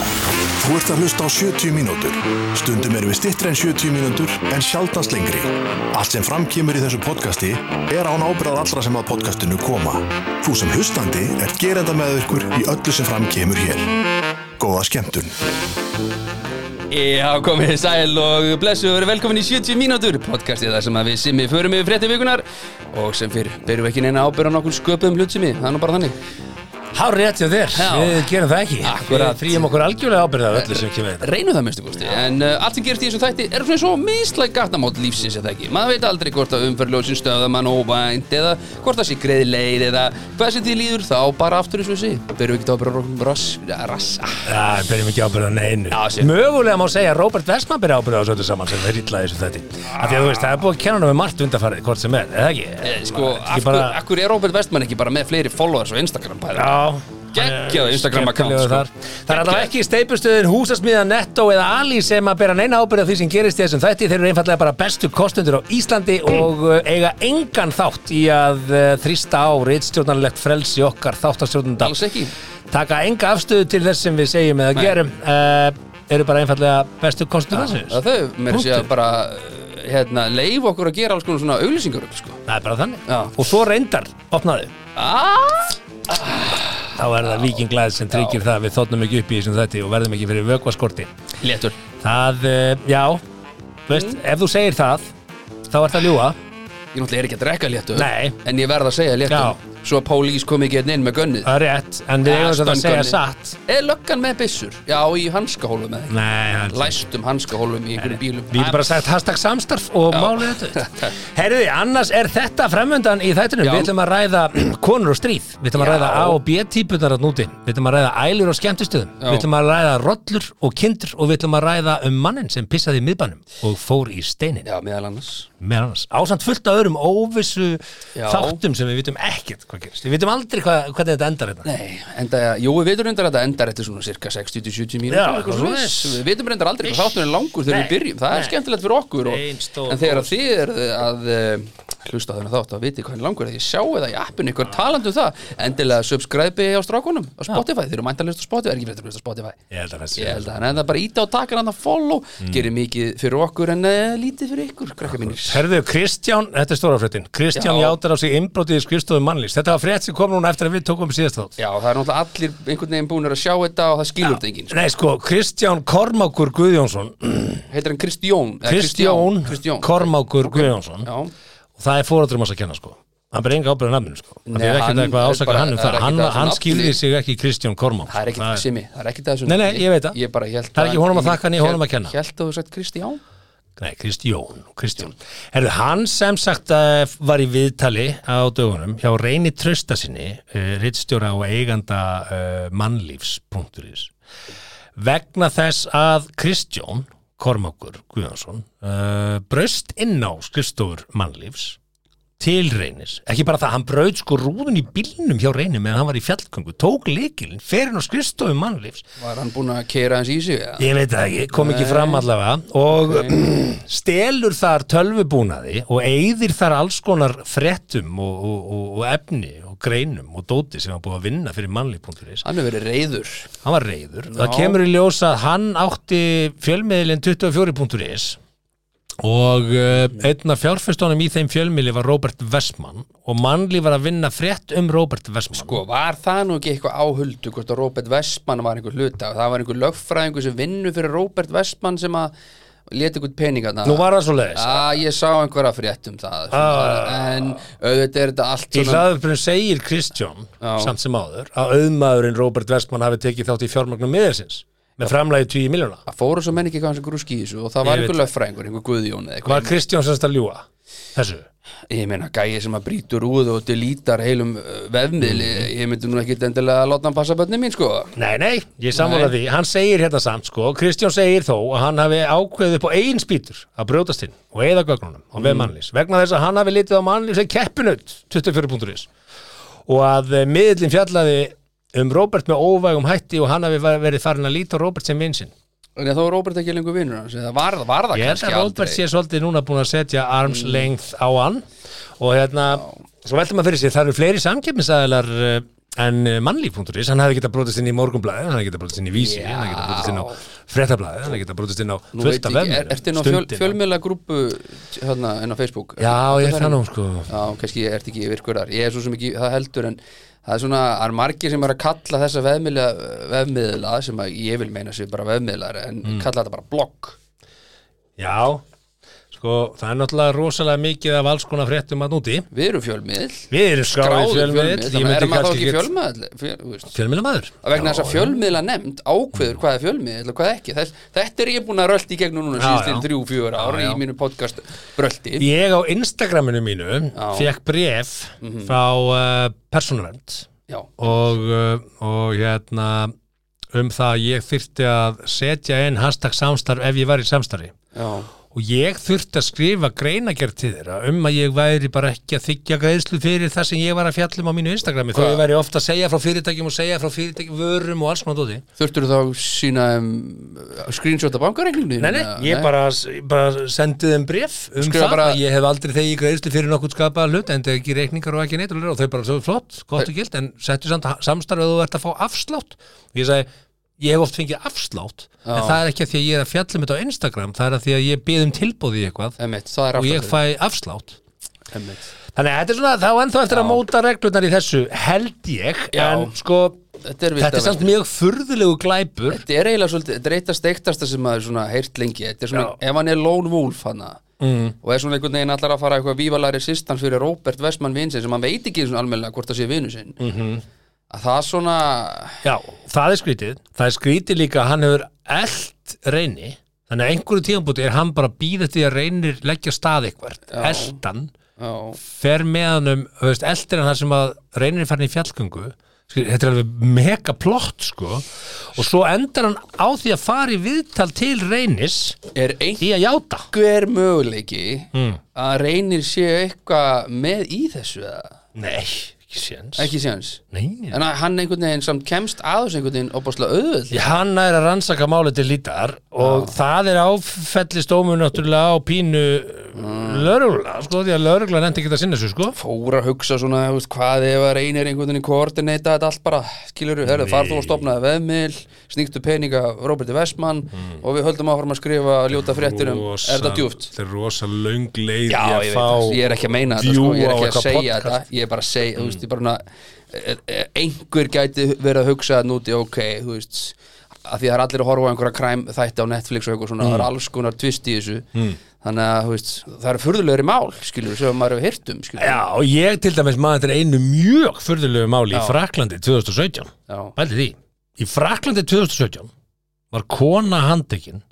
Þú ert að hlusta á 70 mínútur. Stundum erum við stittri en 70 mínútur en sjaldast lengri. Allt sem framkýmur í þessu podcasti er án ábyrðað allra sem að podcastinu koma. Þú sem hlustandi er gerenda með ykkur í öllu sem framkýmur hér. Góða skemmtun. Já, komið þið sæl og blessu og verið velkomin í 70 mínútur podcastið þar sem að við simmi förum yfir frétti vikunar og sem fyrr berum við ekki neina ábyrða nokkur sköpuðum hlutsimi, það er nú bara þannig Há rétt hjá þér, Já. við gerum það ekki Akkurat. Við fríum okkur algjörlega ábyrðað öllu sem kemur þetta reynum það mestu kosti, en uh, allt sem gerist í þessum þætti er svona svo mislæg gattamót lífsins eða ekki, maður veit aldrei hvort að umferðljósin stöða mann óvænt eða hvort það sé greið leið eða hvað sem því líður þá bara aftur eins og þessi, berum við ekki ábyrða nokkur rass, rass, ah, Já, við byrjum ekki ábyrðað neinu Já, sé. Mögulega má segja að Robert Vestman byrja ábyrðað á söldu saman sem það er illaði þessu þetta Af því að þú veist, það er búið að kenna hann með margt undarfarið, hvort sem er, eða ekki? eh, sko, Ekki af, bara... bara- akkur er Robert Vestmann ekki bara með fleiri followers á Instagram bæði? Já Geggjaður Instagram account, Skemmtilegur sko. þar. Það er allavega ekki steipustöðin húsasmiða Netto eða Ali sem að bera neina ábyrða því sem gerist í þessum þætti þeir eru einfallega bara bestu kostundur á Íslandi og uh, eiga engan þátt í að uh, þrýsta á reitstjórnarlegt frelsi okkar þáttastjórnunda Alls ekki. taka enga afstöðu til þess sem við segjum eða Nei. gerum uh, eru bara einfallega bestu kostundur Já, þessum þau mér sé að Punktur. bara hérna, leif okkur að gera alls konar svona auglýsingar upp, sko. Það er bara þannig Já. og svo reyndar opnaðu Ah! þá er það vikinglæð sem tryggir það að við þóttnum ekki upp í þessum þætti og verðum ekki fyrir vökvaskorti Léttur. Það, eh, já Þú veist, Mm. ef þú segir það þá er það ljúa Ég náttúrulega er ekki að drekka léttur. Nei. En ég verð að segja léttur. Já. Svo að Pólís kom ekki hérna inn með gönnið. Það er rétt, en við Ja, eigum þetta að segja stöngulni. satt Er löggan með byssur? Já, í hanskahólum eða ekki. Nei, það er Læstum hanskahólum í einhverjum bílum. Við getum bara sagt hashtag samstarf og málið þetta Herriði, annars er þetta fremöndan í þættinum Já. Við ætlum að ræða konur og stríð Við ætlum að Já. ræða A og B típunar að núti Við ætlum að ræða ælur og skemmtistöðum Já. Við ætlum að ræða rollur og kindur Og við ætlum að ræða um mannin sem pissaði í miðbænum Og fór í steinin Já, meðal annars. meðan annars, ásamt fullt af öðrum óvissu Já. þáttum sem við vitum ekkert hvað gerist, við vitum aldrei hvað, hvernig þetta endar hérna. Nei, enda, jú, við veitum reyndar að þetta endar eftir svona cirka 60-70 mínútur. eitthvað Já, eitthvað svoleiðis. svoleiðis. Við veitum reyndar aldrei hvað þáttur er langur þegar Nei, við byrjum. Það er nei. skemmtilegt fyrir okkur. Og, Ein stór en þegar þið er að eh, hlusta á þennan þátt að viti hvað er langur þegar ég sjá eða í appinu ykkur talandi um það. Endilega subscribe á strákunum á Spotify. Þeir eru mæntalist á Spotify, er ekki fyrir að hlusta á Spotify. Ég held að það sé Ég held að hann enda bara íta og taka hann að follow. Mm. Gerir mikið fyrir okkur en uh, lítið fyrir ykkur, krakka mínir. Herðu, Kristján, þetta er stóra fréttin Kristján Já. játar á sig innbrótið í skrifstofum mannlýs þetta var frétt sem kom núna eftir að við tókum síðast þátt Já, það er náttúrulega allir einhvern veginn búinir að sjá þetta og það skilur þetta enginn. sko. Nei, sko, Kristján Kormákur Guðjónsson Heitir hann Kristjón? eða Kristján Kristjón. Kormákur Guðjónsson Já. og það er fóratrum að kenna, sko hann ber enga ábyrða nafninu, sko Nei, það Nei, er ekkert hann er eitthvað að ásaka bara- hann um það er ekkert það hann, að þessu hann nafni. skilði sig ekki Kristján Kormák Það er ekkert það simi, það er ekkert þessu Nei, nei, ég veit það. Ég bara held Það er ekki honum að þakka, né honum að kenna. Ég held að þú sagt Kristján Nei, Kristjón, Kristjón. Herðu, hann sem sagt eh, var í viðtali á dögunum hjá Reyni Trösta sinni, uh, rittstjóra og eiganda uh, mannlífs.is vegna þess að Kristjón Kormákur Guðjónsson uh, braust inn á skrifstofur mannlífs til Reynis, ekki bara það, hann braut sko rúðun í bílnum hjá Reyni meðan hann var í fjallgöngu, tók leikilinn, fer inn á skrifstofur mannlífs Var hann búinn að keira hans í sig eða? Ég veit það ekki, kom ekki fram allavega og stelur þar tölvubúnaði og eyðir þar alls konar frettum og, og, og, og efni og greinum og dóti sem hann búið að vinna fyrir mannlíf.is Hann hefur verið reyður Hann var reyður, það kemur í ljós að hann átti fjölmiðlinn 24.is og uh, einn af fjárfestunum í þeim fjölmiðli var Robert Vessmann og mannlíf var að vinna frett um Robert Vessmann Sko, var það nú ekki eitthvað áhuldu hvort að Robert Westman var einhver hluta það var einhver lögfræðingur sem vinnu fyrir Robert Westman sem að leti einhvern peningarna Nú var Ah. það svo leiðis Já, ég sá einhverja frétt um það svona, En auðvitað er þetta allt Í svona hlaðurbyrjun segir Kristján Já. samt sem áður að auðmaðurinn Robert Vestmann hafi tekið þátt í fjármagnum miðarsins með framlægi 20 miljóna. Það fóru svo menn ekki hvað hans að grúski í þessu og það var Ég einhver veit. lögfræðingur, einhver guðjón eða eitthvað Var Kristján semst að ljúa þessu? Ég meina, gæi sem að brýtur úð og delítar heilum uh, vefmiðli, Mhm. ég myndi nú ekki endilega að láta hann passa bönni mín, sko. Nei, nei, ég samfóla því. Hann segir hérna samt sko, Kristján segir þó að hann hafi ákveðið upp á eigin spýtur að brjótast inn og eða gögnunum á vef mannlýs vegna þess að hann hafi litið á mannlýs sem keppinut 24.is og að miðlinn fjallaði um Robert með óvægum hætti og hann hafi verið farin að líta á Robert sem vinsinn. En þá er Róbert ekki lengur vinnur hans, eða var, var það Ég held kannski að Robert aldrei. Mm. sé svolítið núna búin að setja arms length á hann og hérna, svo veltum að fyrir sér, það eru fleiri samkeppnisæðilar en uh, mannlíf.is, hann hefði getað brotist inn í morgunblæði, hann hefði getað brotist inn í vísi hann hefði getað brotist inn á frettablæði, hann hefði getað brotist inn á Nú veit fullt af ég ekki, er, vefmiðlum, ertu inn á fjöl, Stundina. fjölmiðla grúpu hérna inn á Facebook? Já, ég er Ertu þar það inn? nú sko Já, kannski ég ert ekki virkur þar Ég er svo sem ekki, það heldur en það er svona, það er margir sem er að kalla þessa vefmiðla, vefmiðla sem að ég vil meina sér bara vefmiðlar en Mm. kalla þetta bara blogg Já, sko, það er náttúrulega rosalega mikið af alls konar fréttum að núti Við erum fjölmiðl Við erum skráðið Gráður fjölmiðl fjölmiðl, þannig ég að myndi er maður þá kannski ekki ekki- fjölmiðl fjö, þú veist. Fjölmiðlamaður að vegna þess að Já, fjölmiðla nefnd ákveður hvað er fjölmiðl og hvað ekki Þess, þetta er ég búin að rölti í gegnum núna Já, síðustin já. þrjú, fjör ár Já, já. í mínu podcast rölti Ég á Instagraminu mínu fekk bref frá uh, persónuvernd já, og, uh, og hérna um það að ég þyrfti að setja inn hashtag samstarf ef ég var í samstarfi já, og ég þurfti að skrifa greinagerð til þeirra um að ég væri bara ekki að þykja greiðslu fyrir það sem ég var að fjallum á mínu Instagrami þó Hvað? ég væri ofta að segja frá fyrirtækjum og segja frá fyrirtækjum vörum og alls konar dóti þurftur þá sína um, screenshot af bankareikninginu Nei, nei, ég bara, bara sendi þeim bref um Skrifa það bara- að ég hef aldrei þegi greiðslu fyrir nokkuð skapaða hlut en það er ekki reikningar og ekki neitt og leira og þau bara svo flott, gott og gilt en settu samt samstarf að þú ert að fá afslátt og ég sagði, ég hef oft fengið afslátt en Já. það er ekki að því að ég er að fjallum þetta á Instagram, það er að því að ég bið um tilbúði í eitthvað Emmett, það er og ég aftur fæ afslátt Emmett Þannig að þetta er svona, þá ennþá eftir að móta reglurnar í þessu, held ég, Já. en sko, Þetta er, þetta er samt mjög furðulegu glæpur. Þetta er eiginlega svolítið, þetta er eitt að steiktasta sem maður svona heyrt lengi Þetta er svona, ef hann er lone wolf hana mm. og er svona einhvern veginn allar að fara eitthvað vívalari sistans fyrir Robert Westman vinsinn sem hann veit ekki svona almennilega hvort það sé vinu sinn -hmm. Mhm. að það svona Já, það er skrítið. Það er skrítið líka að hann hefur eld reyni, þannig að einhverju tíðanbúti er hann bara að býða því að reynir leggja af stað eitthvað, eldan, já, fer með hann um, þú veist, eldir hann þar sem að reynir er farin í fjallgöngu, Skil- þetta er alveg mega plott, sko, og svo endar hann á því að fara í viðtal til reynis er í að játa. einhver möguleiki að reynir sé eitthvað með í þessu eða? Nei, ekki séns. ekki séans Nei, nei. en að hann einhvern veginn samt kemst aðeins einhvern veginn opaslega auðvöld Já, Hann er að rannsaka málið til lítar og það er áfellist ómur náttúrulega á pínu mm. lörgla, sko, því að lörgla nefndi ekki að sinna þessu, sko. fór að hugsa svona, þú veist, hvað ef að reynir einhvern veginn koordinata þetta allt bara skilur, herðu, far þú og stopnaði veðmil sníktu peninga Róberti Vestmann og við höldum áfram að skrifa ljóta fréttir um, er þetta djúft? Það er rosa löng leið Já, ég veit það, ég er ekki að meina þetta sko, view ég er á ekki að eitthvað Mm. segja podcast. þetta ég er bara að segja, þú veist, ég bara svona, e- e- einhver gæti verið að hugsa þetta núti, ok, þú veist að því það er allir að horfa á einhverja kræm þætti á Netflix og eitthvað svona, Mm. það er alls konar tvist í þessu þannig að, þú veist, það er furðulegri mál, skilur, sem maður hefur hýrt um, skilur Já, og ég til dæmis maður þetta er einu mjög furðulegu máli í Fraklandi 2017. Já. Bældi því. Í Fraklandi 2017 var kona handekinn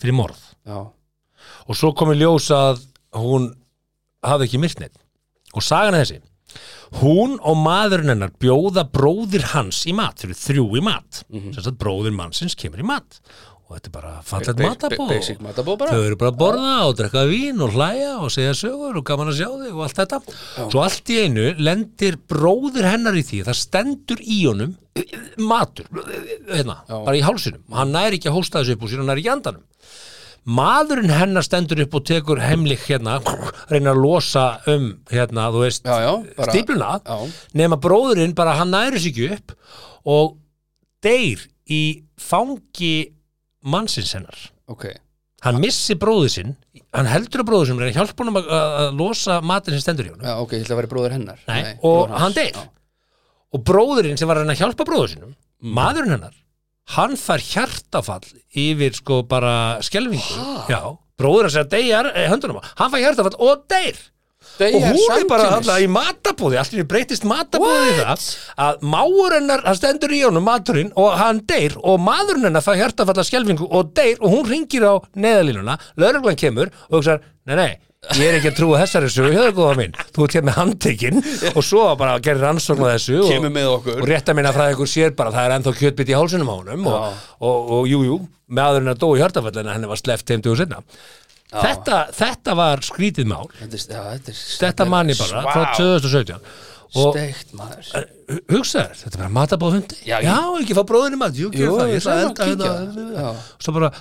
fyrir morð Já. og svo komi ljós að hún hafði ekki myrt neitt og sagan er þessi hún og maðurinn hennar bjóða bróðir hans í mat, þau eru þrjú í mat mm Mhm. -hmm. að bróðir mannsins kemur í mat og þetta er bara fallet Ba- ba- matabó basic matabó bara. þau eru bara að borða og drekka vín og hlæja og segja sögur og gaman að sjá þig og allt þetta svo allt í einu lendir bróðir hennar í því það stendur í honum matur, hérna, bara í hálsinum hann næri ekki að hósta þessu upp úr sér, hann næri ekki andanum maðurinn hennar stendur upp og tekur heimlik hérna, reynir að losa um hérna, þú veist, Já, já, bara- stípluna Já. nema bróðurinn bara hann næri sig ekki upp og deyr í fangi mannsins hennar ok, hann missi bróður sinn hann heldur á bróður sinn, hann hjálpa honum að, að að losa matin sem stendur í honum já, ok, ég ætla að vera bróður hennar Nei, bróðir og hans. hann deyr. Já. og bróðurinn sem var hann að hjálpa bróður sinnum Mm. maðurinn hennar, hann fær hjartafall yfir sko bara skelfingu, já, bróður hans er að deyja eh, höndunum, á. hann fær hjartafall og deyr Deyr og hún er bara samtímis. alltaf í matabóði allt í einu breytist matabóði það að máur hennar, hann stendur í honum maturinn og hann deyr og maðurinn hennar fær hjartafalla skelfingu og deyr og hún ringir á neðalínuna, lögreglan kemur og hugsaðar, nei nei Ég er ekki að trúa þessari sögu, hefur góða mín Þú ert hér með handtekinn og svo bara gerir rannsókn á þessu og- Kemur með okkur. Og rétt að minna fræði ykkur sér bara, það er ennþá kjötbytt í hálsunum á honum og, og, og jú, jú, meðaðurinn að dói hjartafallina henni var sleppt heim dugu sinna þetta, þetta var skrítið mál Þetta er- já, þetta er- þetta manni bara frá 2017 og Steikt maður hugsaður, þetta er bara matabóð fundi Já, ég- ekki fá bróðinu mat, Jú, jú, gerðu það ég ég ætla ætla að að elda kíkja. þetta Já. og svo bara,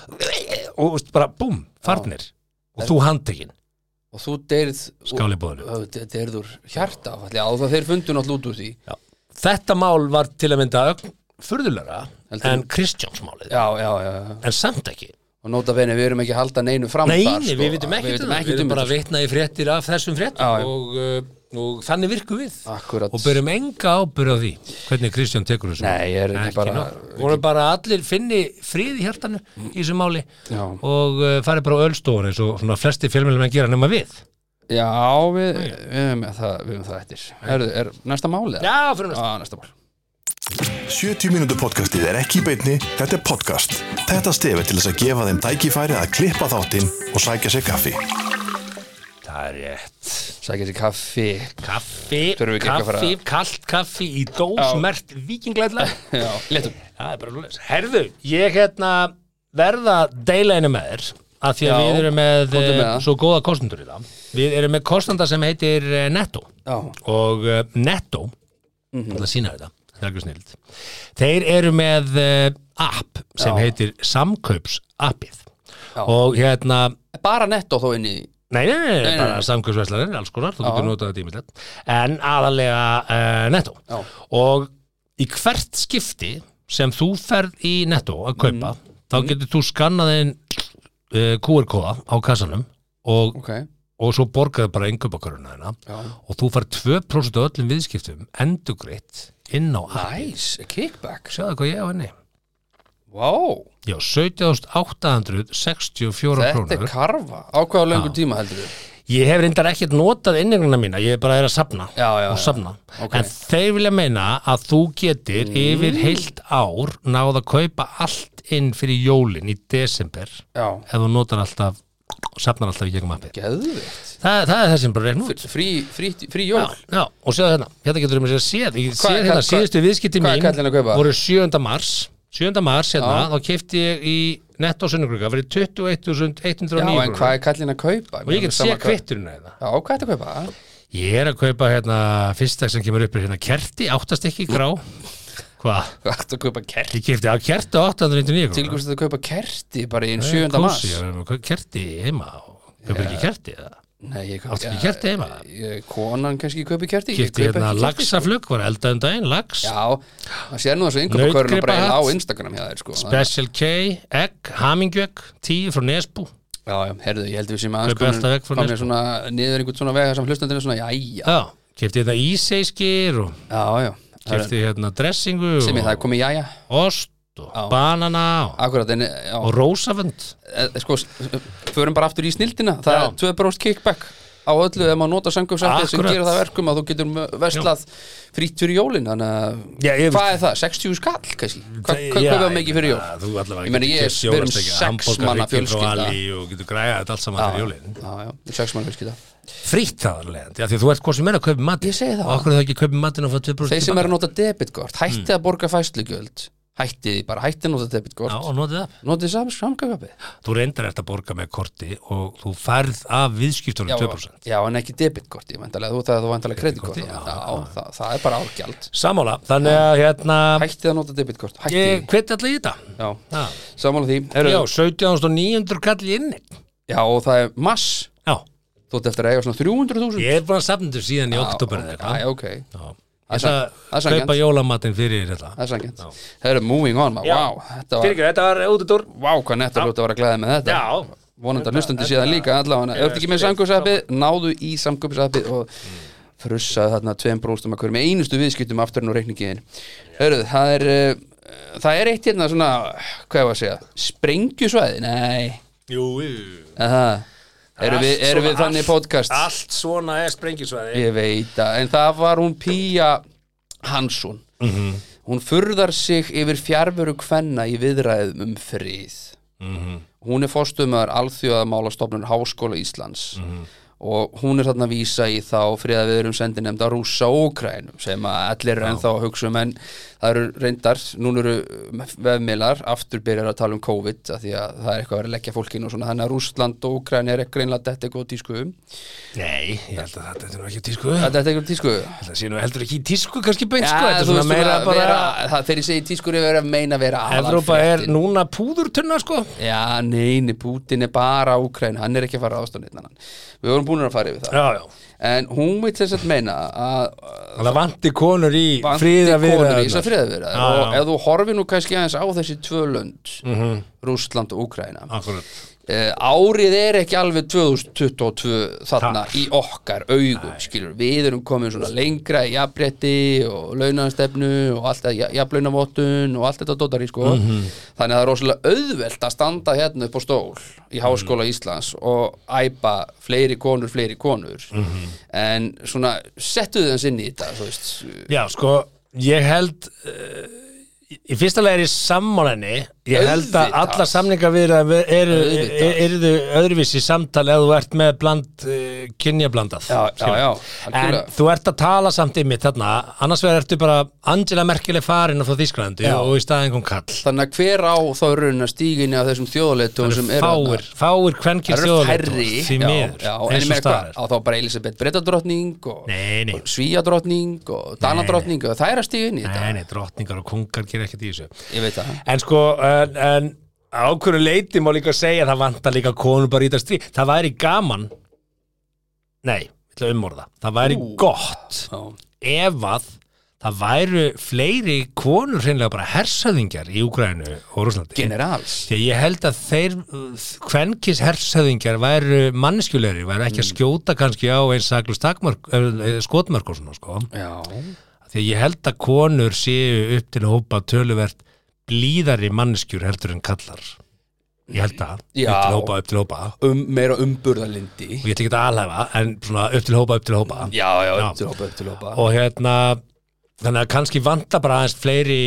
og veist, bara búm, farnir og þú handtekinn, Og þú deyrð Skál í boðinu. Deyrð úr hjarta áfalli Já, það þeir fundu náttúrulega út úr því Já. þetta mál var til að mynda furðulega Heldur. en Kristjánsmálið já, já, já, já. en samt ekki og nota fenni, við erum ekki að halda neinu fram Nei, þar, nei, við vitum ekkert um sko, við, það, við við erum um bara þetta, að vitna í fréttir af þessum Já, fréttir já. og, uh, og þannig virkum við sko. akkurat, og byrjum enga ábyrð á því hvernig Kristján tekur þessu Nei, ég er ekki bara- voru bara allir finni frið í hjartanu í þessu máli Já. og uh, farið bara á ölstofun eins og svona flesti fjölmjölum að gera nema við já, við, við, erum það, við erum það eftir er, er næsta mál eða? Já, fyrir næst Já, næsta mál 70 mínútur podcastið er ekki í beinni, þetta er podcast. Þetta stefið til þess að gefa þeim tækifæri að klippa þáttinn og sækja sér kaffi. Það er rétt sækja sér kaffi Kaffi, Þurfum við ekki eitthvað að kaffi, kallt kaffi í dósmert vikinglæðla já, letum Það er bara lúðis Herðu, ég hérna verða að deila einu með þér af því að Já, við erum með, komdu með eh, það. svo góða kostendur í það Við erum með kostenda sem heitir eh, Netto já, og uh, Netto mm Mhm. -hmm. að sína þetta, þetta er alveg snild Þeir eru með uh, app sem Já. heitir Samkaups appið Já. og hérna bara netto þó inn í Nei, nei, nei, nei, bara nei. samkvæmsverslanir, alls konar, Já. þú getur notað þetta ímyndilegt, en aðalega uh, netto. Já. Og í hvert skipti sem þú ferð í netto Mhm. að kaupa, þá getur þú skannað inn uh, QR-kóða á kassanum og, ok, og svo borgaðu bara yngöpakaruna þeirna já, og þú fær 2% af öllum viðskiptum endugreitt inn á appið. nice, a kickback Sjáðu hvað ég á henni. wow, Já, 17.864 þetta er krónur. karfa á hvaða löngu tíma heldur við Ég hef reyndar ekkert notað innregluna mína, ég bara er að safna Já, já, og já. safna. Ok. Mm. En þeir vilja meina að þú getir yfir heilt ár náð að kaupa allt inn fyrir jólin í desember já, ef þú notar alltaf og safnar alltaf í gegnum appið. geðvitt Það, það er það sem bara reikn út. frí, frí, frí jól Já, já, og séð hérna, hérna getur við mér að segja séð, ég séð er hérna kall- síðustu hvað- viðskipti hvað er mín kallinn að kaupa? voru 7. mars, 7. mars hérna, þá keipti ég í netto sunnugruga, verið 21.109 Já, en hvað krónur. er kallin að kaupa? og ég get séð Sama hvað- kvitturinn eða. Já, hvað er að kaupa? Ég er að kaupa hérna fyrsta sem kemur upp er hérna kerti, áttastykki grá Hvað? Hvað er að kaupa kerti? Ég kefti á kerti á 899 Til hvers að kaupa kerti bara í enn Ég er 7. mars? kósí, ég er með Kerti heima Kaupar ekki kerti eða? Nei, ég Áttu kaupa ekki kerti heima? Ég- Konan kannski kaupi kerti? ég kaupi Kefti hérna ekki kerti, sko. laxaflug, var eldað um daginn, lax Já, það sé nú þessu yngöpakörn og breila á Nautgripahatt. Instagram hjá þér, sko Það- Special K, egg, hamingjögg, tíu frá Nesbú Já, já, herðu, ég held við sem aðeins Kaupi alltaf egg frá komin Nesbú. svona niður einhvern svona vega sem hlustandinn er svona, jæja Já, kefti hérna íseiskir og Já, já, Það er- kefti hérna dressingu sem ég það er og komið jæja ost og banana og, Akkurat, en já, og rósavönd eh, sko, s- förum bara aftur í snildina það Já. er 2% kickback á öllu ef maður notar samkjöfsætti sem Akkurat. gerir það verkum að þú getur verslað frýtt fyrir jólin þannig að Já, ég- hvað er það? 60 skall kannski? Hva, Þa- hvað já, kaupa mikið fyrir jól? ja, Þú allavega Ég meina, ég- getur keypt við erum jólastekki, sex hamborgara, manna hryggi frá fjölskylda. Ali og getur græðað þetta allt saman fyrir jólin Já, já, 6 mann viðskita Frýtt það alveg, því að þú ert hvað sem er að kaupa mat Ég segi það. Og okkur er það ekki að kaupa matinn og fá 2% Þeir sem eru að nota debitkort, hætti Mm. að borga fæslugjöld hætti því bara, hætti að nota Já, debitkort og notið það notið sam, samkjöfjafið Þú reyndar eftir að borga með korti og þú færð af viðskiptunum 2% já, en ekki debitkort, ég væntalega þú það þú væntalega kreditkort Kreditkort, já, já, það, það er bara árgjald Sammála, þannig að hérna hætti að nota debitkort, hætti Ég því hveti allir í þetta já, Já, sammála því Já, Heyrðu, 17.900 kalli inn já, og það er mass Já, Þú ert eftir að eiga svona 300.000 ég er búin að safna þessu síðan í oktober eða eitthvað eitthvað Mm. Já, ok, Já. Það er sann- það Ég ætla er að sanngjarnt. kaupa jólamatinn fyrir hérna. þetta það er sangjant Já. Það eru moving on, maður, Já. wow Þetta var, Fyrirgeðu, þetta var út úr wow, hvað netta hljóta að vera að glæða með þetta Já, Vonandi að hlustandi sé það líka allavega Ef Ég- þetta ekki með samkjöpsappið, náðu í samkjöpsappið og Mm. frussaðu þarna tveim bróstum að hverju með einustu viðskiptum afturinn og reikningiðin Hörðu, það er uh, Það er eitt hérna svona, hvað var að segja Sprengjusvæði, nei Jú, jú Aha. Erum við, Allt erum svona- við þannig podcast? Allt svona er sprengisvæði Ég veit að, en það var hún Pía Hansson Hún furðar sig yfir fjárveru kvenna í viðræðum um frið Hún er fórstumar alþjóðamálastofnun Háskóla Íslands og hún er þarna að vísa í þá friða viðurum sendinemnda rúsa og Úkrænum sem að allir eru ennþá að hugsa um en það eru reyndar, núna eru vefmiðlar, aftur byrjar að tala um COVID af því að það er eitthvað að vera að leggja fólkinu og svona, þannig að Rússland og Úkræn er ekki greinlega þetta eitthvað á tísku um Nei, ég held að þetta er nú ekki í tísku Þetta er eitthvað á tísku Þetta sé nú heldur ekki í tísku kannski beint Já, sko Þetta er þú svona veist, meira svona bara vera, það, þegar ég segi tískur er verið að meina vera Evrópa er aðalfréttin. núna púðurtunna sko Já, neini, Putin er bara Úkræn, hann er ekki að fara aðstofnir Við vorum búin að fara yfir það Já, já en hún veit þess að meina að Það vanti konur í vanti fríða konur í þess að viðraðarnar. Já, friðaviðraðar og já. ef þú horfir nú kannski aðeins á þessi tvö lönd Mhm. Rússland og Úkraina Akkúrat. uh, árið er ekki alveg 2022 þarna Takk. í okkar augum skilur, við erum komin svona lengra í jafnbretti og launastefnu og allt það, jafnlaunavottun og allt þetta dótari sko, þannig að það er rosalega auðvelt að standa hérna upp á stól í Háskóla Íslands og æpa fleiri konur, fleiri konur en svona settu þið hans inn í þetta, þú veist Já, sko, ég held uh, í fyrsta lega er ég sammálenni ég held að Auðvitað. alla samninga eru eru Auðvitað. er, öðruvísi samtal eða þú ert með bland uh, kynjablandað Já, já, skilur. já, en algjörlega. þú ert að tala samt í mitt þarna annars vegar ertu bara Angela Merkel er farin og frá Þísklandi Já. og í staðin kom kall þannig að hver á þá raun að stíginni af þessum þjóðleitum sem eru þarna? fáir, fáir kvenkin það eru færri því já, miður, já, en ég eins og meina hvað, staðar á þá bara Elisabeth Bretadrottning og, Nei, nei. og Svíadrottning og Danadrottning og það er að stíða inn í þetta Nei, nei, drottningar og kungar gera ekkert í þessu ég veit það, En sko, en, en ákveður leiti má líka segja að það vantar líka konur bara í þetta stríð. Það væri gaman, nei, ég ætla að umorða, það væri gott já, ef að það væru fleiri konur hreinlega bara hersöðingjar í Úgrænu og Rúslandi. generals Því að ég held að þeir kvenkis hersöðingjar væru manneskjulegri, væru ekki að skjóta kannski á eins saklust skotmörk og svona, sko. já, Því að ég held að konur séu upp til hópa töluvert blíðari manneskjur heldur en kallar. Ég held að, Já. upp til hópa, upp til hópa. um, meira umburðalindi Og ég ætla ekki að alhæfa, en svona upp til hópa, upp til hópa. já, já, Já. upp til hópa, upp til hópa Og hérna, þannig að kannski vanta bara aðeins fleiri,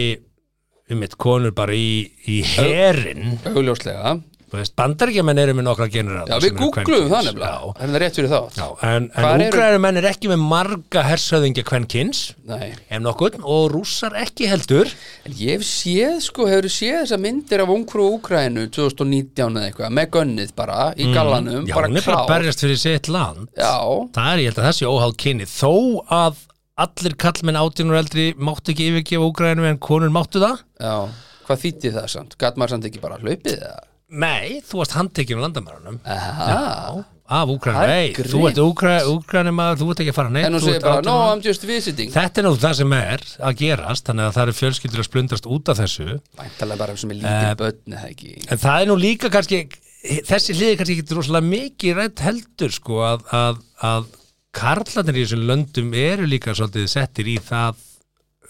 um mitt konur bara í, í herin. augljóslega, Þú veist, bandaríkjamenn eru með nokkra generála. já, við googlum það nefnilega Já, er það rétt fyrir þá já en, Hvar en eru- úgrænumenn er ekki með marga hersöðingja kvenkins, Nei. ef nokkuð, og rússar ekki heldur. en ég hef séð, sko, hefur séð þessar myndir af ungrú Úkrænu 2019 eða eitthvað, með gönnið bara í gallanum, Mm. Já, bara hún er bara að klár berjast fyrir sitt land já, Það er, ég held að það sé óháð kynni Þó að allir kallmenn átjánur eldri máttu ekki yfirgefa úgræðinu en konur máttu það Já, hvað þýtti það samt? Gat maður samt ekki bara hlaupið það? Nei, þú varst handtekinn á landamærunum Aha. af Það er úgræðinu Nei, þú grymt. ert úgræðinu maður, þú ert ekki að fara neitt En hún þú segir ert bara, 18 no, ára." I'm just visiting Þetta er nú það sem er að gerast þannig að það eru fjölskyldur að splundast út af þessu Væntalega bara sem er lítið Eh, uh, börn eða ekki En það er nú líka kannski þessi hliði kannski ekki rosalega mikið rætt heldur sko að, að, að karlarnir í þessum löndum eru líka svolítið settir í það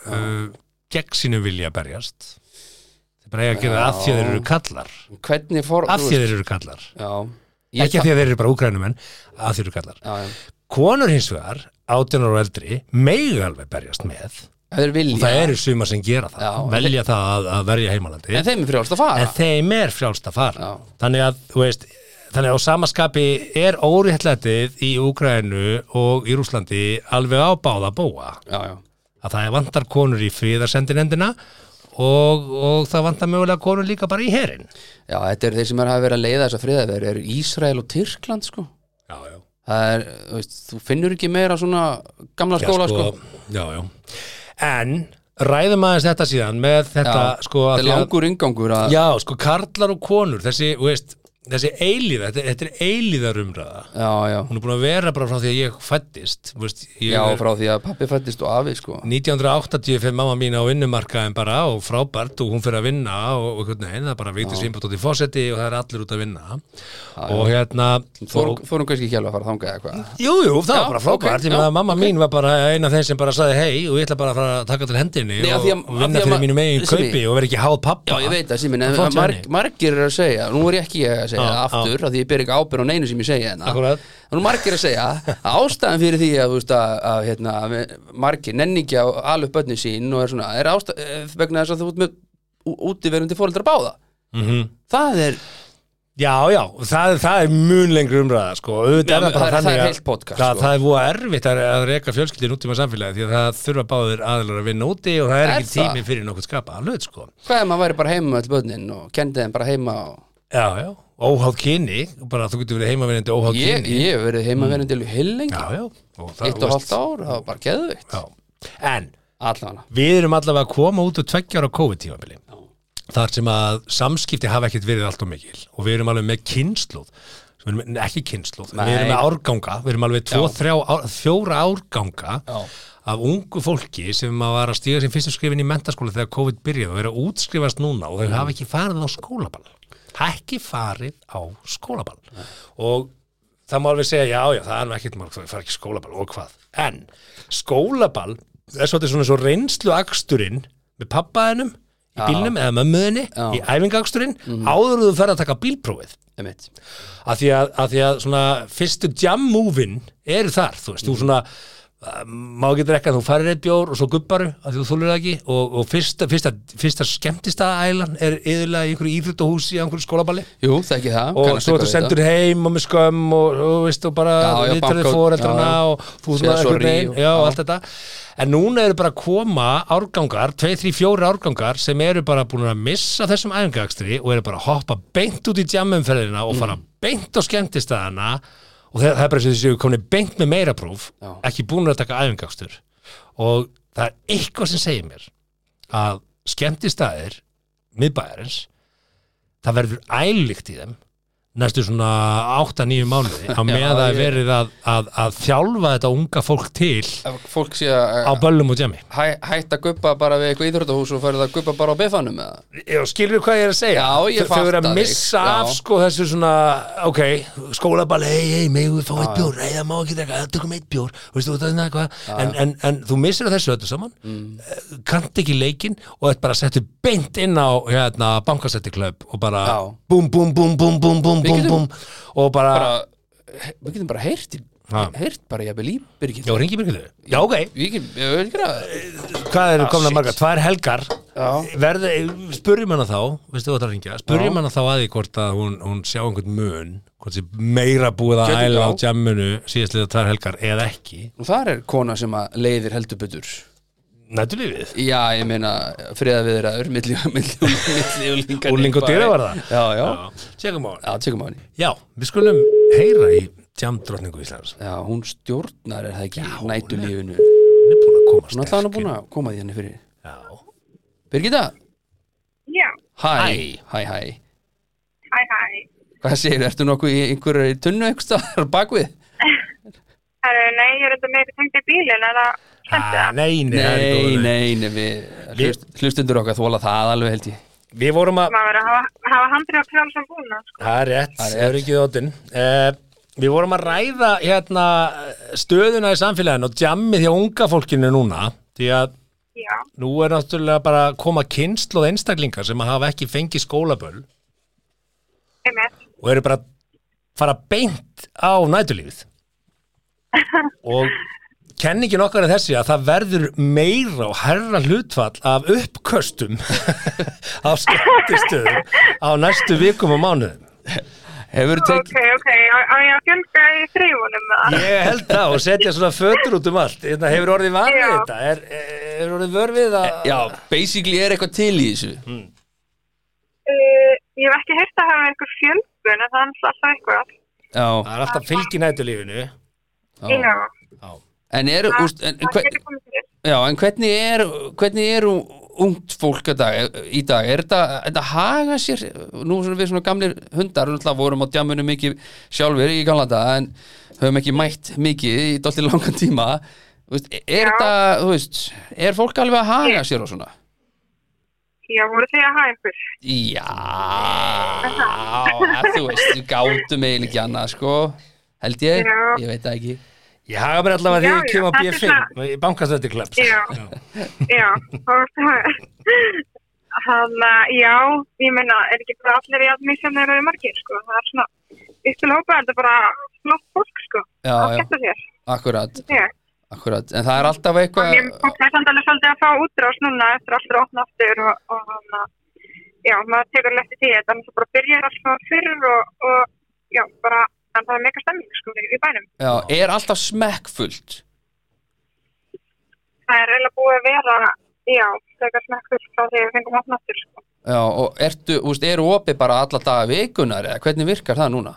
uh, gegn sínum vilja að berjast þeir bara eiga að gera það af því að þeir eru kallar Hvernig fór af því að þeir eru kallar Já ekki af því að þeir eru bara úgrænumenn af því þeir eru kallar Já, já konur hins vegar, 18 ára og eldri mega alveg berjast með Ef þeir og vilja það eru suma sem gera það Já, en velja það að, að verja heimalandi En þeim er frjálst að fara en þeim er frjálst að fara Já. þannig að, þú veist þannig að á samaskapi er óréttlætið í Úgrænu og í Rúslandi alveg á báða búa Já, já að það er vantar konur í fríðarsendinendina og, og það vantar mögulega konur líka bara í herin Já, þetta eru þeir sem er að vera að leiða þess að friða þeir eru Ísrael og Tyrkland, sko já, já. Það er, þú veist, þú finnur ekki meira svona gamla skóla, sko já, já. en ræðum aðeins þetta síðan með þetta sko þetta af er því að- langur yngangur að já, sko karlar og konur þessi, þú veist, þessi eilíða þetta, þetta er eilíðarumræða Já, já, hún er búin að vera bara frá því að ég fættist þú veist, ég já, er- frá því að pappi fættist og afi, sko 1985 mamma mín á vinnumarkaðin bara og frábært og hún fyrir að vinna og, og hvernig, það er bara vitið sýmbútt í fósetti og það er allir út að vinna og hérna og, Fórum fórum kannski ekki alveg að fara þangað eða hvað Jú, jú, það Já, var bara frábært, ok, ég meina já, að mamma mín var bara eina af þeim sem bara saði hei og ég ætla bara að fara að taka til hendinni Nei, af og, því að- af því og vinna að fyrir ma- mínum eigin Simmi. kaupi og vera ekki háð Já, pappa ég veit það, síminn, en Flott hjá marg, henni. margir eru að segja, nú er ég ekki að segja Já, það aftur, af því ég ber ekki ábyrð á neinu sem ég segja hérna. Akkúrat. En nú er margir að segja að ástæðan fyrir því að, þú veist, að, að hérna, að við- margir nenningi á alveg börnin sín og er svona, er ástæðan vegna þess að þú ert með ú- útiverundi fóreldra báða. Mhm. Það er, Já, já, það, það er mun lengri umræða sko, auðvitað Já, er það bara það er- þannig það er að- heilt podcast, það, sko. það er búið erfitt að, að reka fjölskyldin út í maður samfélagi því að það þurfa báðir aðlar að vinna úti og það er, Er ekki það? tími fyrir nokkuð skapa hlut sko. hvað er maður væri bara heima með öll börnin og kendi þeim bara heima og Já, já, óháð kyni bara þú getur verið heimavinnandi óháð ég, kyni ég hef verið heima verið til heilengi, Mm. Já, já, og það eitt og veist- hálft ár, það var bara geðvikt. Já, en Allan, við erum allavega að koma út úr tveggjára COVID-tímabili þar sem að samskipti hafa ekkert verið allt og mikil og við erum alveg með kynnslóð við erum með- ekki kynslu, við Nei. erum með árganga við erum alveg tvo, Já. þrjá, ár, fjóra árganga Já. af ungu fólki sem að var að stíga sem fyrstu skrifin í mentaskóla þegar COVID byrjaði og eru að útskrifast núna og þau hafa ekki farið á skólaball ekki farið á skólaball og það má alveg segja, já, já, það er nú ekkert mörg, þau fara ekki í skólaball og hvað, en skólaball er svolítið svona svo reynslu aksturinn með pappaðinum í bílnum eða mömmuðinni Já. í æfingaksturinn áður en þú ferð að taka bílprófið Einmitt. að því að, að, því að svona, fyrstu jam move-in eru þar þú veist, þú svona uh, má ekki drekka, þú farir eitt bjór og svo gubbaru að þú þúlur það ekki og, og fyrsta, fyrsta, fyrsta skemmtistaðælan er yðurlega í einhverju íþróttahúsi í einhverju skólaballi Jú, þekki það og kannast svo eitthvað ertu við sendur þetta. heim og með skömm og, og veist, og bara Já, já, viðtalið banka- fóreldrana já, já. og Segja þú svona einhvern sorry veginn og- já. já, allt þetta en núna eru bara að koma árgangar 2-3-4 árgangar sem eru bara búin að missa þessum æfingagstri og eru bara að hoppa beint út í djammumferðina og Mm. fara beint á skemmtistæðana og það, það er bara sem þessi komin beint með meira próf Já. ekki búin að taka æfingagstur og það er eitthvað sem segir mér að skemmtistæðir miðbæjarins það verður ælíkt í þeim næstu svona 8-9 mánuði á meða það er ég- verið að, að, að þjálfa þetta unga fólk til Ef Fólk sé að á böllum og djami hæ, hætta að guppa bara við eitthvað íþróttahús og farið að guppa bara á befanum eða skilur hvað ég er að segja Já, ég Þau- þau eru að fatta þig, missa já. af sko þessu svona ok, skólaballi, hei, hei, megum við fá eitt bjór hei, það má ekki drekka, það tökum eitt bjór veistu, það, það, það, en, en, en þú missir af þessu öllu saman mm. kannt ekki leikinn og þetta bara settu beint inn á hérna, bankasettiklöp og bara Já. búm, búm, búm, búm, búm, búm, búm, getum búm og bara, bara, eh, Við getum bara heyrt í- Já. heyrt bara jafnvel í Birgit já, ringi mér ekki þau já, ok, Ég get- ég vil ekki að hvað eru komna Ah, shit. margar, tvær helgar Já. Verði, eh, spurjum hana þá veistu þú átt að ringja, spurjum hana þá að því hvort að hún, hún sjá einhvern mun hvort sé meira búið að Gæti æla á já. jamminu síðastlega tvær helgar eða ekki Og þar er kona sem að leiðir heldur betur nættulífið Já, ég meina friða viðraður milli, milli, milli úlingar Úling og dyravarða. Já, já, tjekum á hann já, tjekum á henni já, við skulum heyra í jamdrottningu Íslands Já, hún stjórnar er það ekki Já, nætulífinu hún er búin að Hún koma er sterk alltaf hann að búin að koma því henni fyrir já, Birgitta, Já, hæ, Hæ. hæ, hæ hæ hæ. Hvað segir, ertu nokkuð í einhverju tunnu einhverstaðar bakvið? Herru, nei, ég er þetta meira tengt í bílinn, er það skemmt Ah, það? nei, nei, það er í Nei, góðu. nei, nei, við Við- hlust, hlustundur okkar þóla það alveg held ég við vorum Ah. að Maður verður að hafa, hafa handrið á frjálsum búna. sko. Það er rétt, Það er rétt. það er ekki þóttinn. Uh, við vorum að ræða hérna, stöðuna í samfélaginu og djammið hjá unga fólkinu núna, því að Já, nú er náttúrulega bara að koma kynslu og einstaklingar sem að hafa ekki fengið skólaböll einmitt. og eru bara að fara beint á nætulífið. og kenningin okkar er þessi að það verður meira og herra hlutfall af uppköstum á skemmtistöðum á næstu vikum og mánuðum. Hefur Ok, tekið, ok, á á ég að fjölga í þrýfunum með það? Ég held það og setja svona fötur út um allt Hérna, hefur orðið var við Já. þetta er, hefur orðið vör við að já, basically er eitthvað til í þessu Hmm. Uh, ég hef ekki heyrt að hafa einhver fjölgun, en það er náttúrulega alltaf eitthvað. Já, það er alltaf fylgi nætulífinu já Já, En er, það- úst, en, en, það hver, getur komið fyrir. Já, en hvernig er, hvernig er ungt fólk að dag, í dag? Er þetta, þetta haga sér, nú erum við svona gamlir hundar, náttúrulega vorum á djamunum mikið sjálfur í gamla dag, en höfum ekki mætt mikið í dálítið langan tíma. Þú Veist, er Já. þetta, þú veist, er fólk alveg að haga sér og svona? Já, voru þið að hafa einhver? Já, að þú veist, við gátum eiginlega ekki annað, sko, held ég, Já. ég veit það ekki. ég haga mér allavega Já, þegar ég já, kem á þetta er B5 í bankastöði klöps Já, já, og hann, já, ég meina, er ekki bara allir í allir sem þeir eru margir, sko, það er svona, ykkur hópa er þetta bara flott fólk, sko, Já, að já. skemmta sér, Akkurat, ég. akkurat, en það er alltaf Og eitthvað... mér fólk er samt alveg svolítið að fá útrás núna eftir aftur og opna aftur og, og hann, já, maður tekur lefti því, þetta er náttúrulega bara byrjar allt svona fyrr og, og, já, bara, en það er meika stemming, sko, í- í bænum. Já, er alltaf smekkfullt Það er eiginlega búið að vera, já, þegar smekkur frá því við fengum opna aftur, sko. Já, og ertu, úst, eru opið bara alla daga vikunar eða hvernig virkar það núna?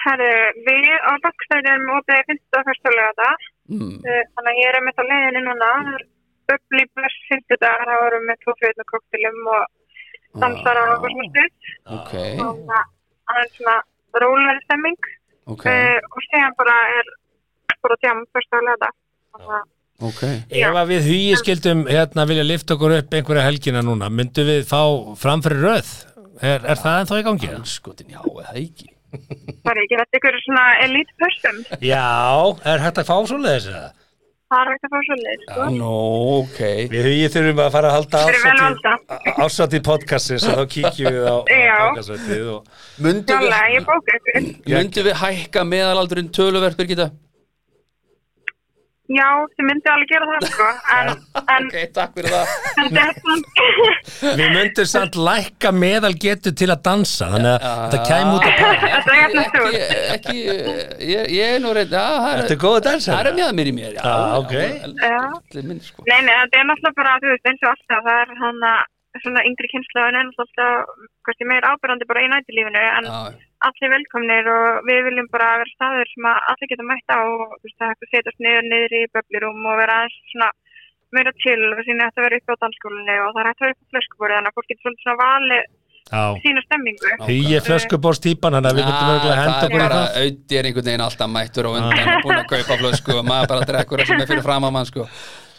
Herru, við á Bakkstæði erum opið 50. fyrstulega dag, Mm. Eh, þannig að ég er einmitt á leiðinni núna. Böbli bærs 50 dagar, það vorum við tvo fjöðna koktilum og dansar á okkur sem stuð. Ok, Þannig að það er svona, rólegri stemming ok, uh, og séðan bara er bara tjáum fyrst að lega það ok Ef að við hugi skildum hérna vilja lifta okkur upp einhverja helgina núna, myndum við fá framfyrir röð? Er, er það ennþá í gangi? Skotin, já, eða ekki það er ekki þetta ykkur er svona elite person Já, er hægt að fá svoleiðis eða? það er ekkert að fá svo leið sko. Nú, ok Við hugið þurfum að fara að halda Fyrir vel árshátíð- árshátíð podcastins og þá kíkjum við á Já. podcastvöldið og Mundum við, Klálega, ég bóka ykkur mundum við hækka meðalaldurinn töluvert, Birgitta? já, þið myndi alveg gera það sko. en, en, Ok, takk fyrir það en þetta við myndum samt lækka meðal getu til að dansa þannig að þetta kæm út að þetta er hérna Ekki, stúr ekki, ég, ég er nú reynd Já, það Þetta er- er góða dansar það er mjög mér í mér Já, Ah, ok. Já. Allir minn, sko Nei, nei, þetta er náttúrulega bara, þú veist, eins og alltaf, það er hann að svona yngri kynnslóðin er náttúrulega alltaf, hversi meir ábyrrandi bara í nættilífinu, en Já, allir velkomnir og við viljum bara vera staður sem að allir geta mætt á og þú veist, það er hægt að setjast niður niður í böblirúm og vera aðeins svona meira til og síðan þetta vera upp á dansskólinni og það er hægt að vera upp á flöskubúri, þannig að fólk getur svolítið svona valið Já, sína stemmingu. hugi er flöskubórstýpan þannig að við myndum örgulega að henda Ah, það er bara, okkur í það Ah. auði er einhvern veginn alltaf mættur og undan og búin að kaupa flösku og maður bara drekkur það sem er fyrir fram að mann sko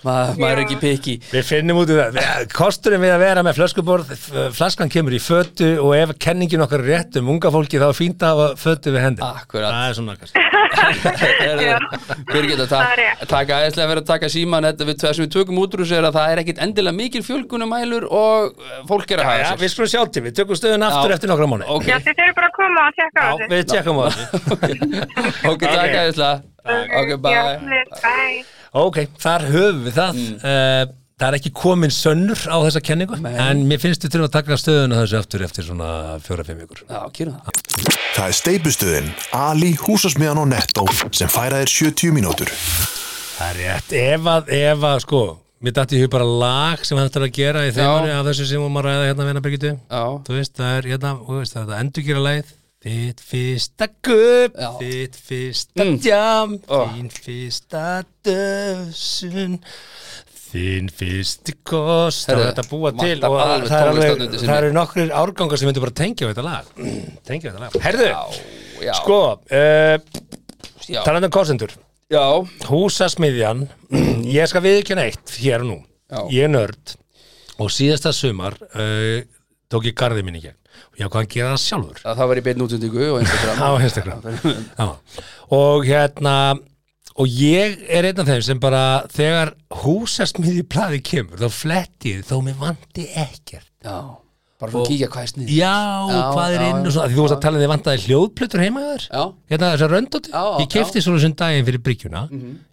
Ma, maður er ekki piki Við finnum út í það, Við- kosturinn við að vera með flöskuborð, f- flaskan kemur í fötu og ef kenningin okkar er rétt um unga fólki þá er fínt að hafa fötu við hendi Akkurat. Það er svona kannski Já. Birgitta, Það er takk rétt. takk aðeinslega fyrir að taka síman þetta við tveið sem við tökum út úr þessu er að það er ekkit endilega mikil fjölgunumælur og eh, fólk er að Já, hafa við skulum sjá til, við tökum stöðun aftur Já. eftir nokkra mánu Ok, Já, þið þurfum bara að koma og tjekka á Já, þessu. við tjekkum á þessu ok, takk aðeinslega Ok, Já, bye við- bye. Ok, þar höfum við það uh, Það er ekki komin sönnur á þessa kenningu en mér finnst við til að taka stöðun á þessu aftur eftir svona fjóra-fimm vikur Já, kýrum það Það er steipustuðin, Ali, húsasmiðan og Netto sem færa þér 70 mínútur. Það er rétt, ef að, ef að sko Mér dætti í hug bara lag sem hægt er að gera í þeimari af þessu sem hún maður ræða hérna vina Birgitu Já. Þú veist, það er hérna, þú veist, það er þetta endurgera lagið Þitt fyrsta gupp, Já. Mm. þitt fyrsta djam, Ó. þín fyrsta döfsun Þín fyrsti kost Það Herðu, er þetta að búa til vantar og alveg tónlist það er þarna alveg, undir sinni. það eru nokkrir árgangar sem myndu bara tengja við þetta lag Tengja við þetta lag Herðu, Já, já, sko, uh, já, talandi um kostendur já, Húsasmiðjan, ég skal viðkjöna eitt hér og nú, Já. ég er nörd og síðasta sumar uh, tók ég garðið minni í gegn og ég ákvað að gera það sjálfur það var í beinn útundingu og Instagram á Instagram Já. og hérna og ég er einn af þeim sem bara þegar húsasmiðji plaði kemur þá fletti ég því þó mér vandi ekkert Já, bara fyrir að kíkja hvað er snið já, hvað er já, inn og já. svona, af því þú varst að tala um því vantaði hljóðplötur heima hjá þér Já, hérna þessar röndóti, Já, já, Mhm. ég kefti svona sem daginn fyrir bryggjuna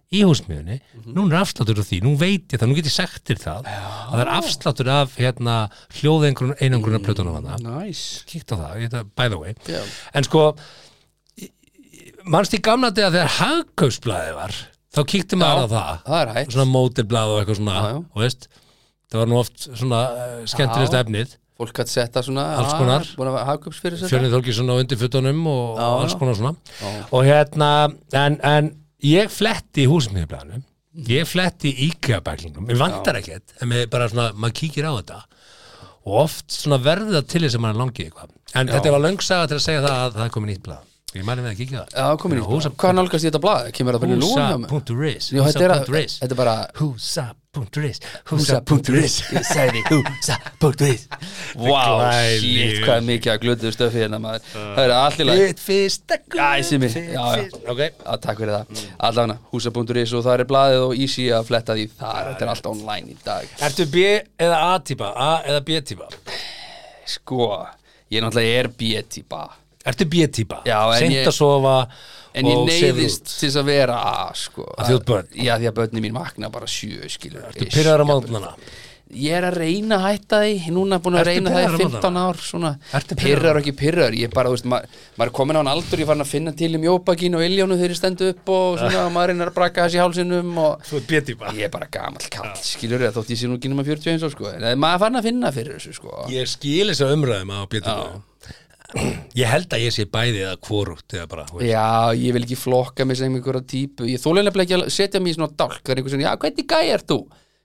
í húsmiðunni, núna er afsláttur á því, nú veit ég það, nú get ég sagt þér það að það er afsláttur af hérna hljóðengrun einangruna plötunum hana nice kíkt á það, ég, by the way Mm. Já. en sko í- í- manst í gamla dega þegar hagkaupsblæði var þá kíkti maður á það Það er hægt, svona mótilblæð og eitthvað svona Já, já. og veist, það var nú oft svona uh, skemmtilegst Já. efnið fólk gætt setta svona Alls konar. ah, Búin að hagkaups fyrir sér Fjörnið Þorgilsson á undirfuttunum og Já, og já. alls konar svona Já. og hérna, en, en ég fletti í húsmiðblæðinu Mhm. ég fletti í IKEA-bæklingum mér vantar ekkert, en mér bara svona, maður kíkir á þetta og oft svona verður það til þess að maður langi í eitthvað en þetta var löng saga til að segja það að það er komið nýtt blað ég mæli með að kíkja á Já, það komin í Húsa- Hvað nálgast í þetta blað? Kemur það fyrir lúna hjá mér? húsa.ris Jú, þetta er að- húsa.ris Þetta er bara húsa.ris Húsa.ris Ég sagði Húsa.ris Wow, Glæný. shit, hvað er mikið að glötu stöfið hérna maður Það er allir læg Þitt fyrsta guð Æsi mér. þitt Já, já. fyrsta- Ok. Já, takk fyrir það Allana, húsa.is og það er blaðið og easy að fletta því þar Þetta er allt online í dag Ertu B eða A-típa? A eða B-típa? Sko, ég náttúrulega er B-típa Ertu B-típa? Já, en Seint ég- að sofa En ég og sefur neyðist út. til þess að vera A, sko Af því þú ert börn? Já, því að börni mín vakna bara sjö, skilur Ertu pyrraður á málnana? Ég er að reyna að hætta því, núna búin að Ertu reyna það í pirraður á 15 mótana? ár svona, Ertu pirraður? pyrrar og ekki pyrrar ég bara, þú veist, ma maður er komin á hann aldur ég er farin að finna til um jópakín og iljónu þegar ég stendu upp og svona, og maður reynar að braka þessi hálsinum og Þú er B-típa ég er bara gamall kall, skilur ég, þótt ég sé nú ekki nema 41 og sko, en maður er farin að finna fyrir þessu sko, Ég skil um þess að umræðum á B-típa Ég held að ég sé bæði eða kvorugt eða bara þú veist. já, ég vil ekki flokka mig sem einhverja típu, ég þólega ekki að setja mig í svona dálk, það er einhver sem, já, hvernig gæi er þú?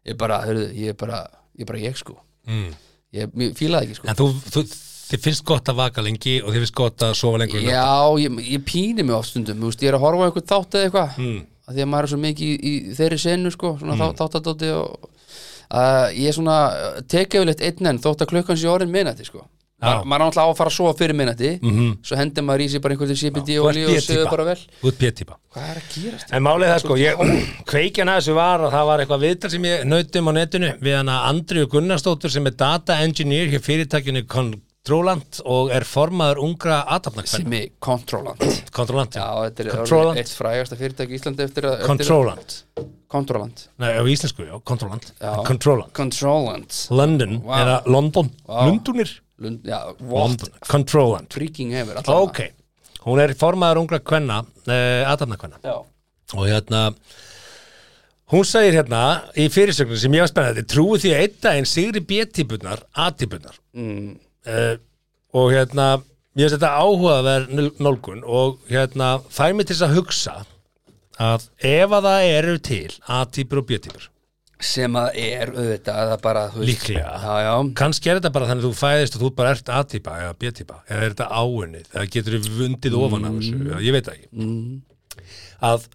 Ég bara, hörðu, ég er bara, ég er bara ég sko, Mm. ég, ég fílaði ekki sko En þú, þú, þið finnst gott að vaka lengi og þið finnst gott að sofa lengur um nótt. Já, ég, ég píni mig oft stundum þú veist, ég er að horfa á einhvern þátt eða eitthvað mm. að því að maður er svo mikið í, í þeirri senu sko, svona mm. þáttadóti og uh, ég er svona tekjafilegt einn enn þótt að klukkan sé orðin minnati sko Ma, Já. maður er náttúrulega á að fara að sofa fyrir minnati svo hendur maður í sig bara einhvern CBD Þú og ert olíu og sögur bara B-típa. vel Þú ert pétipa hvað er að gerast? En málið er það sko, ég, kveikjan að þessu var að það var eitthvað viðtal sem ég nautum á netinu við hana Andriu Gunnarsdóttur sem er data engineer hér fyrirtækinu Controlant og er formaður ungra aðtapnarkvenn. Simi Controlant Controlant. Já, þetta er orðið Controlant. eitt frægasta fyrirtæki í Íslandi eftir að eftir að- Controlant. Controlant Nei, á íslensku, já, Controlant. Já. Controlant. Controlant London, Vá. eða London. Lundunir. Lund, já, what? Controlant. Freaking hefur allavega. Ok, hún er formaður ungra kvenna, uh, aðtapnarkvenna. Já, og hérna hún segir hérna í fyrirsögnum sem ég var spennandi trúi því að einn daginn sigri B-típunar A-típunar mm. og hérna ég finnst þetta áhugaverð nálgun og hérna fær mig til þess að hugsa að ef að það eru til A-típur og B-típur sem að er auðvitað það bara, þú veist, Líklega. já, já, kannski er þetta bara þannig að þú fæðist og þú bara ert A-típa eða B-típa eða er þetta áunnið eða getur þú vundið ofan af þessu eða ég veit það ekki mm, að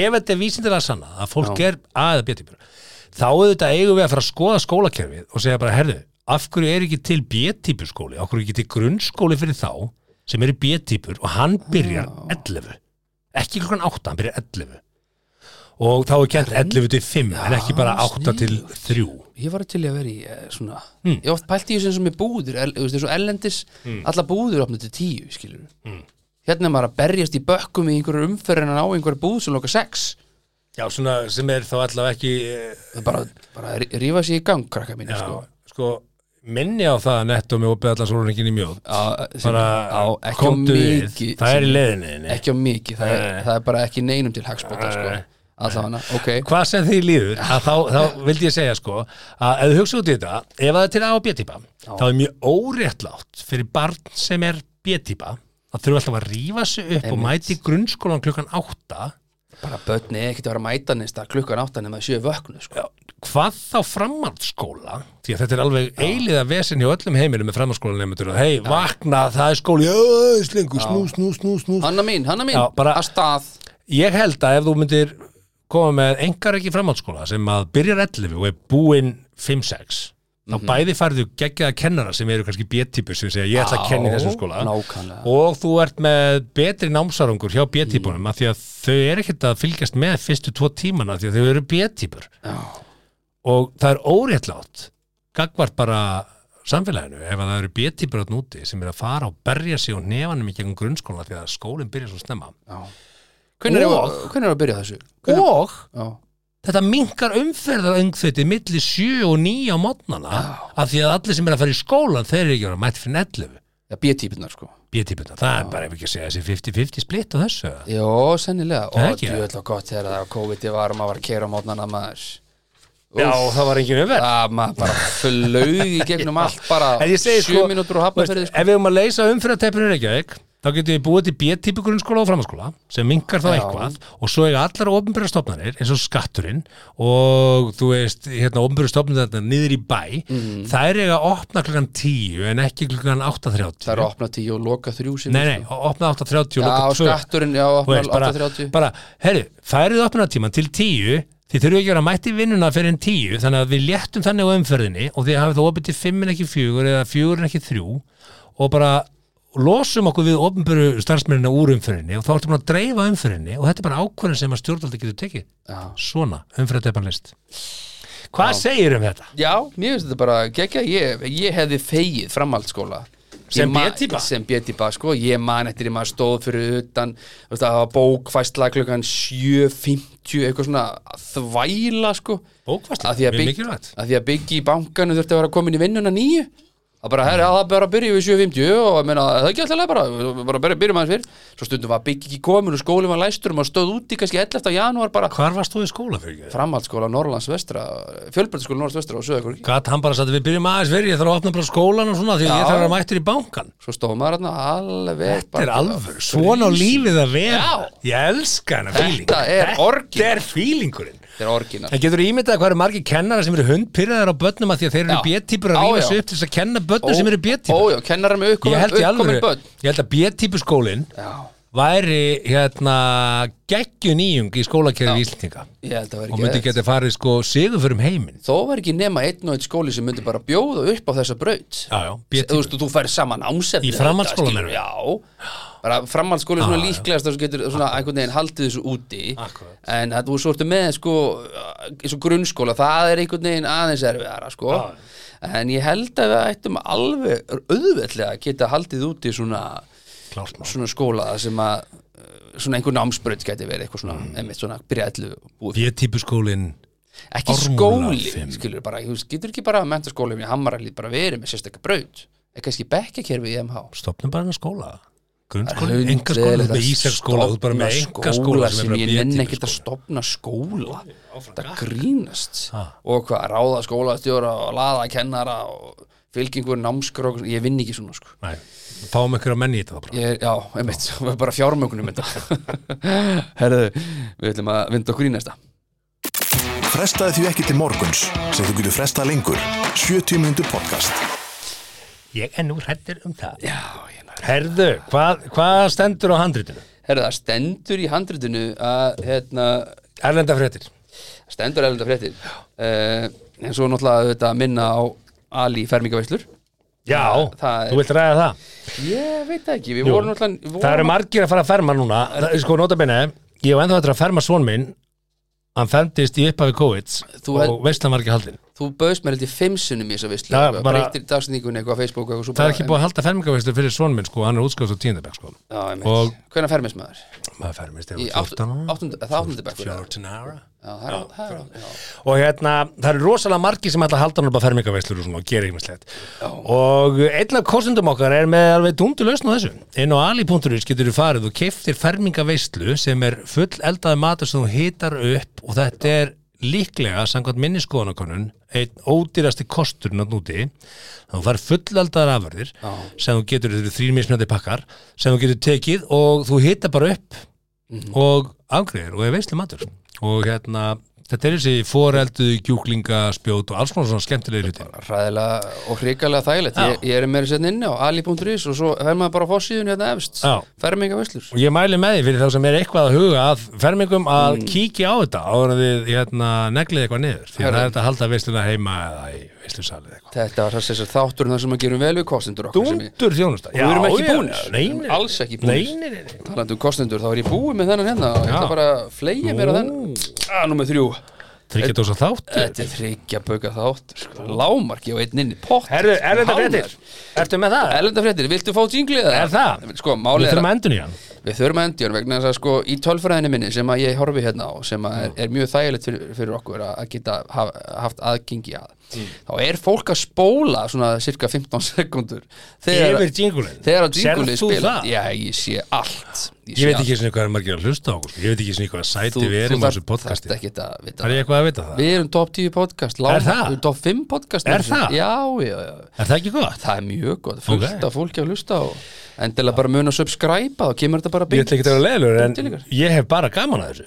ef þetta er vísindilega sanna að fólk Já. er A eða B-típur þá auðvitað eigum við að fara að skoða skólakerfið og segja bara, herðu, af hverju er ekki til B-típur skóli, af hverju er ekki til grunnskóli fyrir þá sem eru B-típur og hann byrjar 11 ekki klokkan 8, hann byrjar 11 og þá er kent 11 til 5 en ekki bara 8 til 3 ég var til í að vera í eh, svona, Hmm. ég oft pælt í þessu sem er búður el, þú veist, þessu ellendis, mm. alla búður opnum til tíu, skilur mm. Hmm. hérna er maður að berjast í bökkum í einhverju umferðin að ná einhverju búð sem loka sex Já, svona sem er þá allavega ekki eh, það er bara, bara að rí- rífa sér í gang, krakka mínu, já, sko sko, minni á það netto með opið allan sólurningin í mjóð Já, sem- bara, já, ekki á komdu við mikið það er í sem- leðinni ekki á mikið, það er, Nei. það er bara ekki neinum til hagspota, sko Nei. allavega, ok, hvað sem því líður að þá, þá vildi ég segja sko að ef þú hugsa út í þetta, ef það er til A og B-típa þá er mjög óréttlátt fyrir barn sem er B-típa að þurfa alltaf að rífa sig upp og mæti grunnskólan klukkan átta bara börni eiga ekkert að vera að mæta nýsta klukkan áttan nema að sjö vöknu, sko hvað þá framhaldsskóla því að þetta er alveg eiliða vesen hjá öllum heimilum með framhaldsskóla nefndur hei, vakna, það er skóli, öðs lengur snú, snú, snú, snú, Hanna mín, hanna mín, Já, bara- að stað ég held að ef þú myndir koma með engar ekki framhaldsskóla sem að byrjar 11 og er búinn 5-6 þá Mhm. bæði færðu geggjaða kennara sem eru kannski B-típur sem segja ég ætla að Já, kenna í þessum skóla nákvæmlega. og þú ert með betri námsarangur hjá B-típunum af því að þau eru ekkert að fylgjast með fyrstu tvo tímana af því að þau eru B-típur Já. og það er óréttlátt gagvart bara samfélaginu ef að það eru B-típur átt núti sem eru að fara og berja sig og nefanum í gegnum grunnskóla því að skólinn byrja svo snemma Hvernig er, Og- hvernig er að byrja þessu? Hvernig, og já, þetta minkar umferðaröngþöytið milli 7 og 9 á mótnana af því að allir sem er að fara í skólan þeir eru ekki að vera mætt fyrir 11 já B-típunar sko B-típuna, það er bara ef ekki að segja þessi 50-50 splitt á þessu eða? Jó, sennilega Það er Og ekki, djöðl og gott þegar það COVID var og maður var að keira á mótnana maður Já, það var engin umverð Það maður bara flög í gegnum allt bara En ég segi sjö sko, mínútur og hafna fyrir veist, ef við höfum að leysa umfyrirteppinu Reykjavík þá getum við búið til B-típu grunnskóla og framhanskóla sem mingar þá Já. eitthvað og svo eiga allar ofnbjörða stofnanir eins og skatturinn og þú veist, hérna ofnbjörða stofnanir niður í bæ Mhm. þær eiga að opna klukkan 10 en ekki klukkan 8.30 Það er að opna tíu og loka þrjú sinni Nei, nei, opna 8.30 og Já, loka 2 skatturinn, já, Þú opna veist, bara, 8.30 bara, herri, færið opnatíman til 10 þið þurfum ekki að vera mætti vinnuna fyrir en 10 þannig að við léttum þannig á umferðinni og þið hafið þá opið til 5 en ekki 4 eða 4 en ekki 3 og bara losum okkur við opnböru starfsmennina úr umferðinni og þá ertum við að dreifa umferðinni og þetta er bara ákvörðin sem að stjórnaldi getur tekið Já. svona, umferðatepanlist Hvað segir um þetta? Já, mér finnst þetta bara geggja ég, ég hefði fegið framhaldsskóla Ég Sem ma- B-típa? Sem B-típa, sko, ég man eftir því maður stóð fyrir utan þú veist, Það var bókfæsla klukkan 7.50 eitthvað svona þvæla, sko Bókvarsla, Af því að mjög bygg- mikilvægt af því að byggi í bankanu þurfti að vera komin í vinnuna nýju Það bara, herri, það bara byrja við 7.50 og ég meina, það er ekki alltaf leið bara, bara byrja, byrja maður fyrr Svo stundum var byggi ekki komin og skólinn var læstur og maður stóð úti kannski 11. janúar bara Hvar varst þú í skóla fyrir ekki? Framhaldsskóla Norrlands vestra, fjölbjörnskóla Norrlands vestra og sögur Gat hann bara sagt við byrjum aðeins verið, ég þarf að opna bara skólan og svona því Já. að ég þarf að vera mættur í bankan. svo stóð maður hérna alveg Þetta er bara- alvöru, svona á lífið að vera. Já. Ég elska hana fíling. Þetta er orgið. Þetta er fílingurinn. þetta er orginal En getur þú ímyndað hvað eru margir kennara sem eru hundpyrraðar á börnum að því að þeir eru Já. B-típur að Á, rífa já. sig upp til þess að kenna börnum sem eru B-típur? Ójá, kennar með Ég held í uppkomin alveg, börn ég held að B-típur skólinn Já, væri hérna geggjun íjung í skólakerfi Já. Íslendinga ég held að og það myndi væri ekki geti farið sko sigur fyrir um heiminn. Þó var ekki nema einn og einn skóli sem myndi bara bjóða upp á þessa braut Já, já, Þú B-típur. veist, þú færi saman ámsefni Í framhaldsskólanum? Já, bara framhaldsskóla er svona líklegast þar sem getur svona einhvern veginn haldið þessu úti Akkúrat. En það þú svo ertu með sko, eins og grunnskóla, það er einhvern veginn aðeins erfiðara sko Já, En ég held að við ættum alveg auðveldlega að geta haldið úti svona, Klárt mál. svona skóla þar sem að uh, svona einhver námsbraut gæti verið eitthvað svona, Mm. einmitt svona byrjaðlu búið B-típur skólinn ekki Ármúla skóli, fimm. skilur bara, þú veist, getur ekki bara að menta skóli í hamarallið bara verið með sérstakka braut eða kannski bekkakerfi í MH stopnum bara hennar skóla Það grunnskóla, er engaskóla, þú ert með hundleiðilegt að ísaksskóla þú ert bara með stofna engaskóla sem ég nenni ekkert að B-típur stopna skóla það grínast Ha. og hvað, ráða skólastjóra og laða kennara og fylgingur námskrók ég vinn ekki svona sko Nei, fáum ykkur að menni í þetta þá bara Ég er, já, einmitt, við bara fjármögnum þetta Herðu, við ætlum að vinda okkur í næsta Frestaði því ekki til morguns sem þú getur frestað lengur 70 mínútur podcast Ég er nú hrættur um það Já, ég nær Herðu, hvað, hvað stendur á handritinu? Herðu, það stendur í handritinu að, hérna, Erlenda fréttir stendur erlenda fréttir uh, en svo náttúrulega þetta minna á Ali fermingaveslur Já, það er- þú vilt ræða það Ég veit það ekki, við Jú. vorum náttúrulega við vorum Það eru margir að fara að ferma núna Það er Sko, nota bene, ég hef ennþá eftir að ferma svon minn Hann fermdist í upphafi COVID Þú og held- veist hann var ekki haldin Þú bauðst mér held ég fimm sunnum í þessa vislu Já, bara... bara- Breytir dagsetningunni eitthvað á Facebook og eitthvað svo Það er ekki búið að halda fermingaveislu fyrir svon minn sko, hann er útskjáðs á tíndabæk sko Já, ég og- meint Hvernig fermist maður? maður fermist Í eða áttu- 14 ára áttundu- er það áttundu bekkur, eða? 14 ára Já, það er, það er, já. og hérna, það eru rosalega margi sem ætla að halda hann upp að fermingaveislur og svona og gera ekki mislegt og einn af kostundum okkar er með alveg dundu lausn á þessu inn á ali.is getur þú farið og keiftir fermingaveislu sem er full eldaði matur sem þú hitar upp og þetta er líklega, samkvæmt minni skoðanakonun einn ódýrasti kosturinn að núti þú fær fullaldaðar afurðir sem þú getur, þetta eru þrír mismunandi pakkar sem þú getur tekið og þú hita bara upp og afgreðir og er veislu matur og hérna, þetta er þessi foreldu, kjúklingaspjót og alls konar svona skemmtilegir hluti Ræðilega og hrikalega þægilegt ég, ég er meira sérna inni á ali.is og svo fer maður bara á fórsíðun hérna efst Já. Fermingaveslur og ég mæli með því fyrir þá sem er eitthvað að huga að fermingum að Mm. kíkja á þetta áður en þið hérna, neglið eitthvað niður því Hörðu. það er þetta að halda veisluna heima eða í veislusalið eitthvað Þetta var þess að þátturinn þar sem að gerum vel við kostendur okkar sem ég- Dúndur þjónusta við erum ekki búnir. nei, Við nei, erum alls ekki búnir. nei, nei, nei. Talandi um kostendur, þá er ég búið með þennan hérna og ég ætla Já. bara að fleigja mér á þennan Ah, nummer þrjú Tryggja dósa þáttur Þetta er þryggja bauka þáttur sko. Lámarki og einn inn í pott Herru, er þetta fréttir? Ertu með það? Erlenda fréttir, viltu fá jingli eða? Er það? Sko, Við málið er að þurfum að endun í hann við þurfum að endjón vegna þess að sko í tölfræðinni minni sem að ég horfi hérna á sem að er, er mjög þægilegt fyrir, fyrir okkur að að geta haf, haft aðgengi að Mm. þá er fólk að spóla svona cirka 15 sekundur Yfir jingulinn þegar að jingli Serð þú spila það? Já, ég sé allt Ég veit ekki svona hvað er margir að hlusta á okkur sko. Ég veit ekki svona hvað sæti við erum á þessu podcasti ekki að vita Er ég eitthvað að vita það? Við erum top 10 podcast lágmark- Er það? við erum Top 5 podcast Er það? Já, já, já Er það ekki gott? Það er mjög gott, fullt Ok. af fólki að hlusta og endilega bara mun að subscribe þá kemur þetta bara Ég ætla ekki að vera leiðilegur Beint til en ykkar. ég hef bara gaman að þessu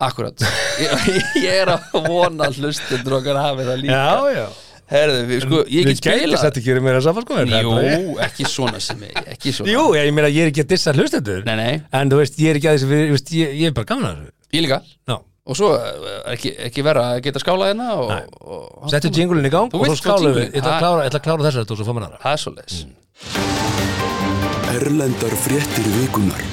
Akkurat, ég, ég er að vona að hlustundur okkar hafi það líka Já, já Herðu, við, sko, ég Við get gæti spilað satt ekki verið meira saman sko en Jú, þetta er- ekki svona sem ég, ekki svona Jú, ég, ég meina ég er ekki að dissa hlustendur Nei, nei, En þú veist, ég er ekki að þessu við- þú veist, Ég ég er bara gaman að þessu ég líka Ná, Og svo eh, ekki, ekki vera að geta skálað hérna og, Nei. og, og settu jingulinn í gang Þú og svo vilt fá skálum við jingulinn. Ég ætla Ha. að klára- Mm. ég ætla að klára þessa þetta og svo fá mér aðra Það er svo leis Erlendar fréttir vikunar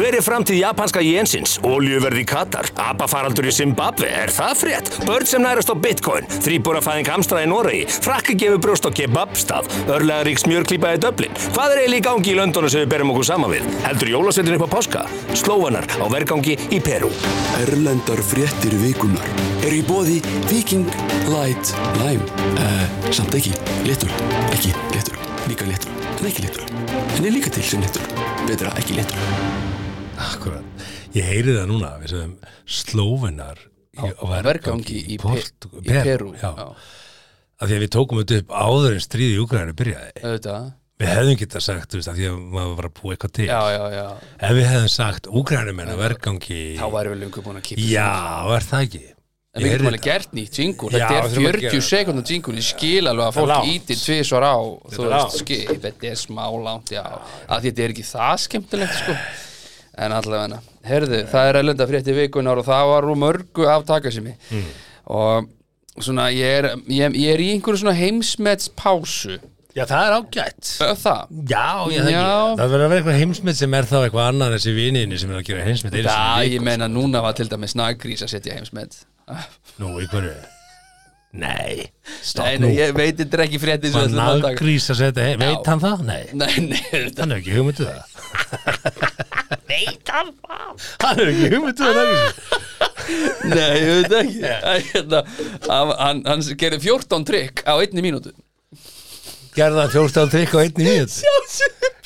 Hver er framtíð japanska jensins? Oljuverð í Katar? Abafaraldur í Zimbabwe? Er það frétt? Börn sem nærast á bitcoin? Þrýbúrafæðing Amstra í Noregi? Frakka gefur brjóst á kebabstað? Örlegarík smjörklípa í Dublin? Hvað er eiginlega í gangi í löndunum sem við berum okkur saman við? Heldur jólasveitin upp á páska? Slóvanar á vergangi í Peru? Erlendar fréttir vikunar Er í bóði Viking Light Lime uh, Samt ekki, léttur Ekki, léttur, líka léttur En ekki léttur, en er líka til sem léttur Betra, ekki léttur Akkurat Ég heyri það núna, við segjum Slóvenar í- á Vergangi í, Port, Portú- í Peru Já, Já, af því að við tókum þetta upp áður en stríði í Úgrænu byrjaði auðvitað við hefðum getað sagt, þú veist, að því að maður var að búa eitthvað til, já, já, já, ef við hefðum sagt úgrænumenn að vergangi þá væri við lengur búin að kýpa Já, er það ekki? en við getum alveg gert nýtt jingle, Já, þetta við er þurfum að 40 gera það. sekundar jingle, ég skil alveg að fólk langt. ítir tvisvar á, þú er veist, langt. skil þetta er smá langt, já, að þetta er ekki það skemmtilegt, sko en allavega, herðu, það er ellenda frétti vikunar og það var úr mörgu af takasimi Hmm. og svona, ég er, ég, ég er í einhverju svona heimsmets pásu, Já, það er ágætt það Já, ég það Já. ekki Það verður að vera eitthvað heimsmynd sem er þá eitthvað annað en þessi viniðinni sem er sko. að gera heimsmynd einu Já, sinni í ég meina núna var til dæmis nagrís að setja heimsmet viku. Nú, í hverju? Nei, Nei, stopp nú nei, ég veit þetta er ekki frétti Var naggrís að setja heim, Já. veit hann það? Nei, Nei, nei, þetta hann hefur ekki hugmyndu það Veit hann það? Hann hefur ekki hugmyndu það naggrís Nei, ég veit ekki Æ, hérna, hann, hann- hann gerði 14 trikk á einni mínútu Gerða hann 14 trikk á einni mínut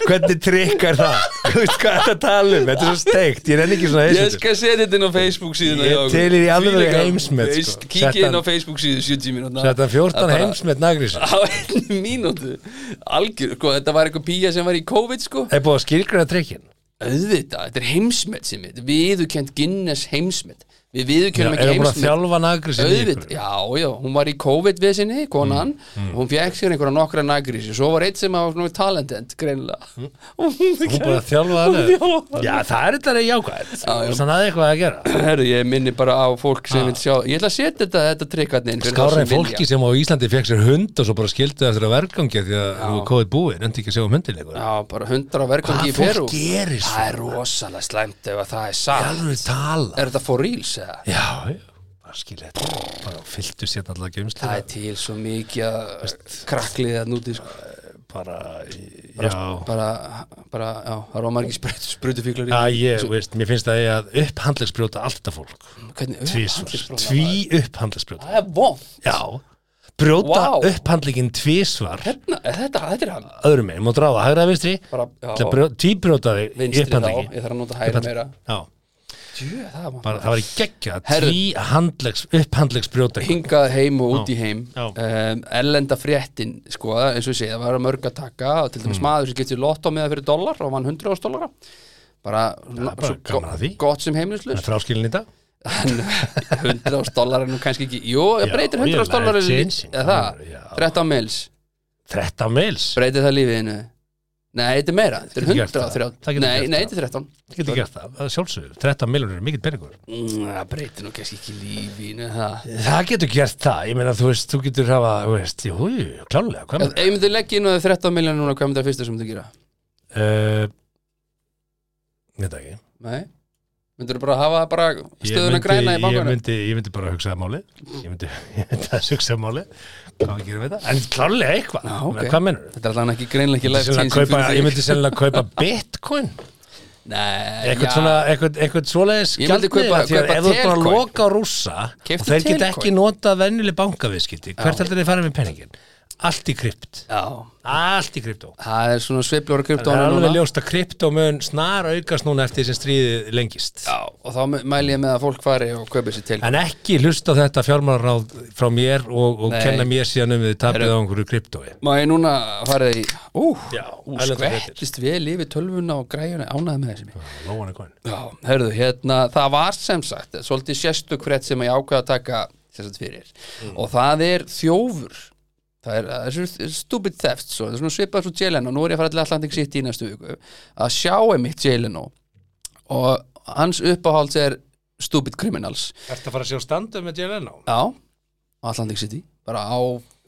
Hvernig trikk er það? Þú veist hvað þetta tala um, þetta er svo steikt Ég renn ekki svona Ég heimsmynd skal setja þetta inn á Facebook síðuna Ég hjá okkur. til í því alveg Þvílíka- heimsmet, sko. Veist, Sett Kíkja inn á hann- Facebook síðu 70 mínútna Þetta 14 Það bara- heimsmynd nagrís Á einni mínútu Algjör, sko, þetta var eitthvað píja sem var í COVID, sko Er búið að skilgræna trikkin? Auðvitað, þetta er heimsmet sem þetta Viðukent Guinness heimsmet Við Já, viðukennum er ekki hún búin að heimsmet þjálfa nagrísin í auðvitað, ykkur? já, já, hún var í COVID við sinni, konan, hún fekk sér einhverja nokkra nagrísi, svo var eitt sem var svona talentent, greinilega og hún Hún búin að þjálfa Hún hann þjálfaði hana. Já, það er þetta jákvæð Þannig að það er eitthvað að gera Herru, ég minni bara á fólk sem vil sjá ég ætla að setja þetta, þetta trikkarni Skáraði fólki sem á Íslandi fekk sér hund og svo bara skildu eftir að vergangi því að hún var kóðið búið, nefndi ekki að sjá um hundin eitthvað Já, bara hundar á verkangi í Hvað Perú fólk gerir svona? Það er rosalega slæmt ef að það er satt Alveg tala Er þetta for reals eða? Já, já, bara skilja þetta bara fylltu sér alltaf geimslu Það er til svo mikið að kraklið að núti sko. bara, já bara, bara, já, það er ómargi sprutufíklar Já, ég, veist, mér finnst það eigi að upphandlegsbrjóta allt þetta fólk Hvernig, Tvísvar, handleggsbrotna, tví upphandlegsbrjóta Það er vond Já, brjóta Vá. upphandlegin tvísvar Hérna, þetta, þetta er hann öðrum meginn, mót ráða hægra vinstri Bara, já. til að brjó- tvíbrjóta þig í Vinstri þá, upphandleggi. ég þarf að nota hægri Upphandlegg. meira já, Djö, það var bara, það var í geggja Herru. tvíhandlegs, upphandlegsbrjóta einhvern. hingað heim og út í heim Já. um, ellenda fréttin sko, eins og ég segi, það var mörg að taka og til dæmis Mm. maður sem getur lott á meða fyrir dollar og vann 100 ást dollara bara, er bara svo gaman að því. gott sem heimilislaus fráskilin í dag En 100 ást dollara er nú kannski ekki jú, Já, það breytir 100 ást real life dollara í- changing. eða það, Já. 13 mils 13 mils, breytir það lífiðinu nei, þetta er meira, þetta er Getur gert 100 það. Það getur nei, gert nei, það. þetta er 13 það getur gert það það er sjálfsögðu, 13 miljonir er mikill peningur Mm, það breytir nú kannski ekki lífinu það það getur gert það, ég meina þú veist þú getur hafa, þú veist, jú, jú, klálega hvað Ef maður, ef ég myndi leggja inn á þau 13 miljonir núna, hvað myndi það fyrsta sem þú gera? uh, þetta ekki Nei Myndur þú bara hafa bara Ég stöðuna myndi- græna í ég bankanum? myndi, ég myndi bara hugsa það máli ég myndi, ég myndi að hugsa það máli hvað við gerum við það, en klálega eitthvað Já, Ég ok. meina, hvað menur Þetta er alltaf ekki greinlega ekki life Sennilega changing kaupa, fyrir þig. ég myndi sennilega kaupa bitcoin Nei, eitthvað já. svona, eitthvað, eitthvað svoleiðis Ég myndi gjaldmiðil, kaupa- af því að kaupa ef þú ert bara að Telcoin. loka á rússa Keyptu og þeir get Telcoin. ekki notað venjuleg bankaviðskipti hvert heldur þið farið með peningin? allt í krypt, Já, allt í kryptó það er svona sveifljóra það er kryptónu alveg núna ljóst að kryptó mun snar aukast núna eftir því sem stríðið lengist Já, og þá mæ- mæli ég með að fólk fari og kaupi sér til en ekki hlusta á þetta fjármálaráð frá mér og, og Nei. kenna mér síðan um við tapið Heyrðu. á einhverju kryptói Má ég núna farið í Ú, Já, ú, erlendar fréttir. skvettist vel yfir tölvuna og græjuna ánæði með þessi mér Lóan er komin Já, heyrðu, hérna, það var sem sagt svolítið sérstök frétt sem ég ákveða að taka sem sagt fyrir Mm. og það er þjófur það er, það er svo stupid theft svo, það er svona svipað svo Jeleno, nú er ég að fara til Atlantic City í næstu viku að sjá einmitt Jeleno og hans uppáhalds er stupid criminals Ertu að fara að sjá standum með JLN á? Já, Atlantic City bara á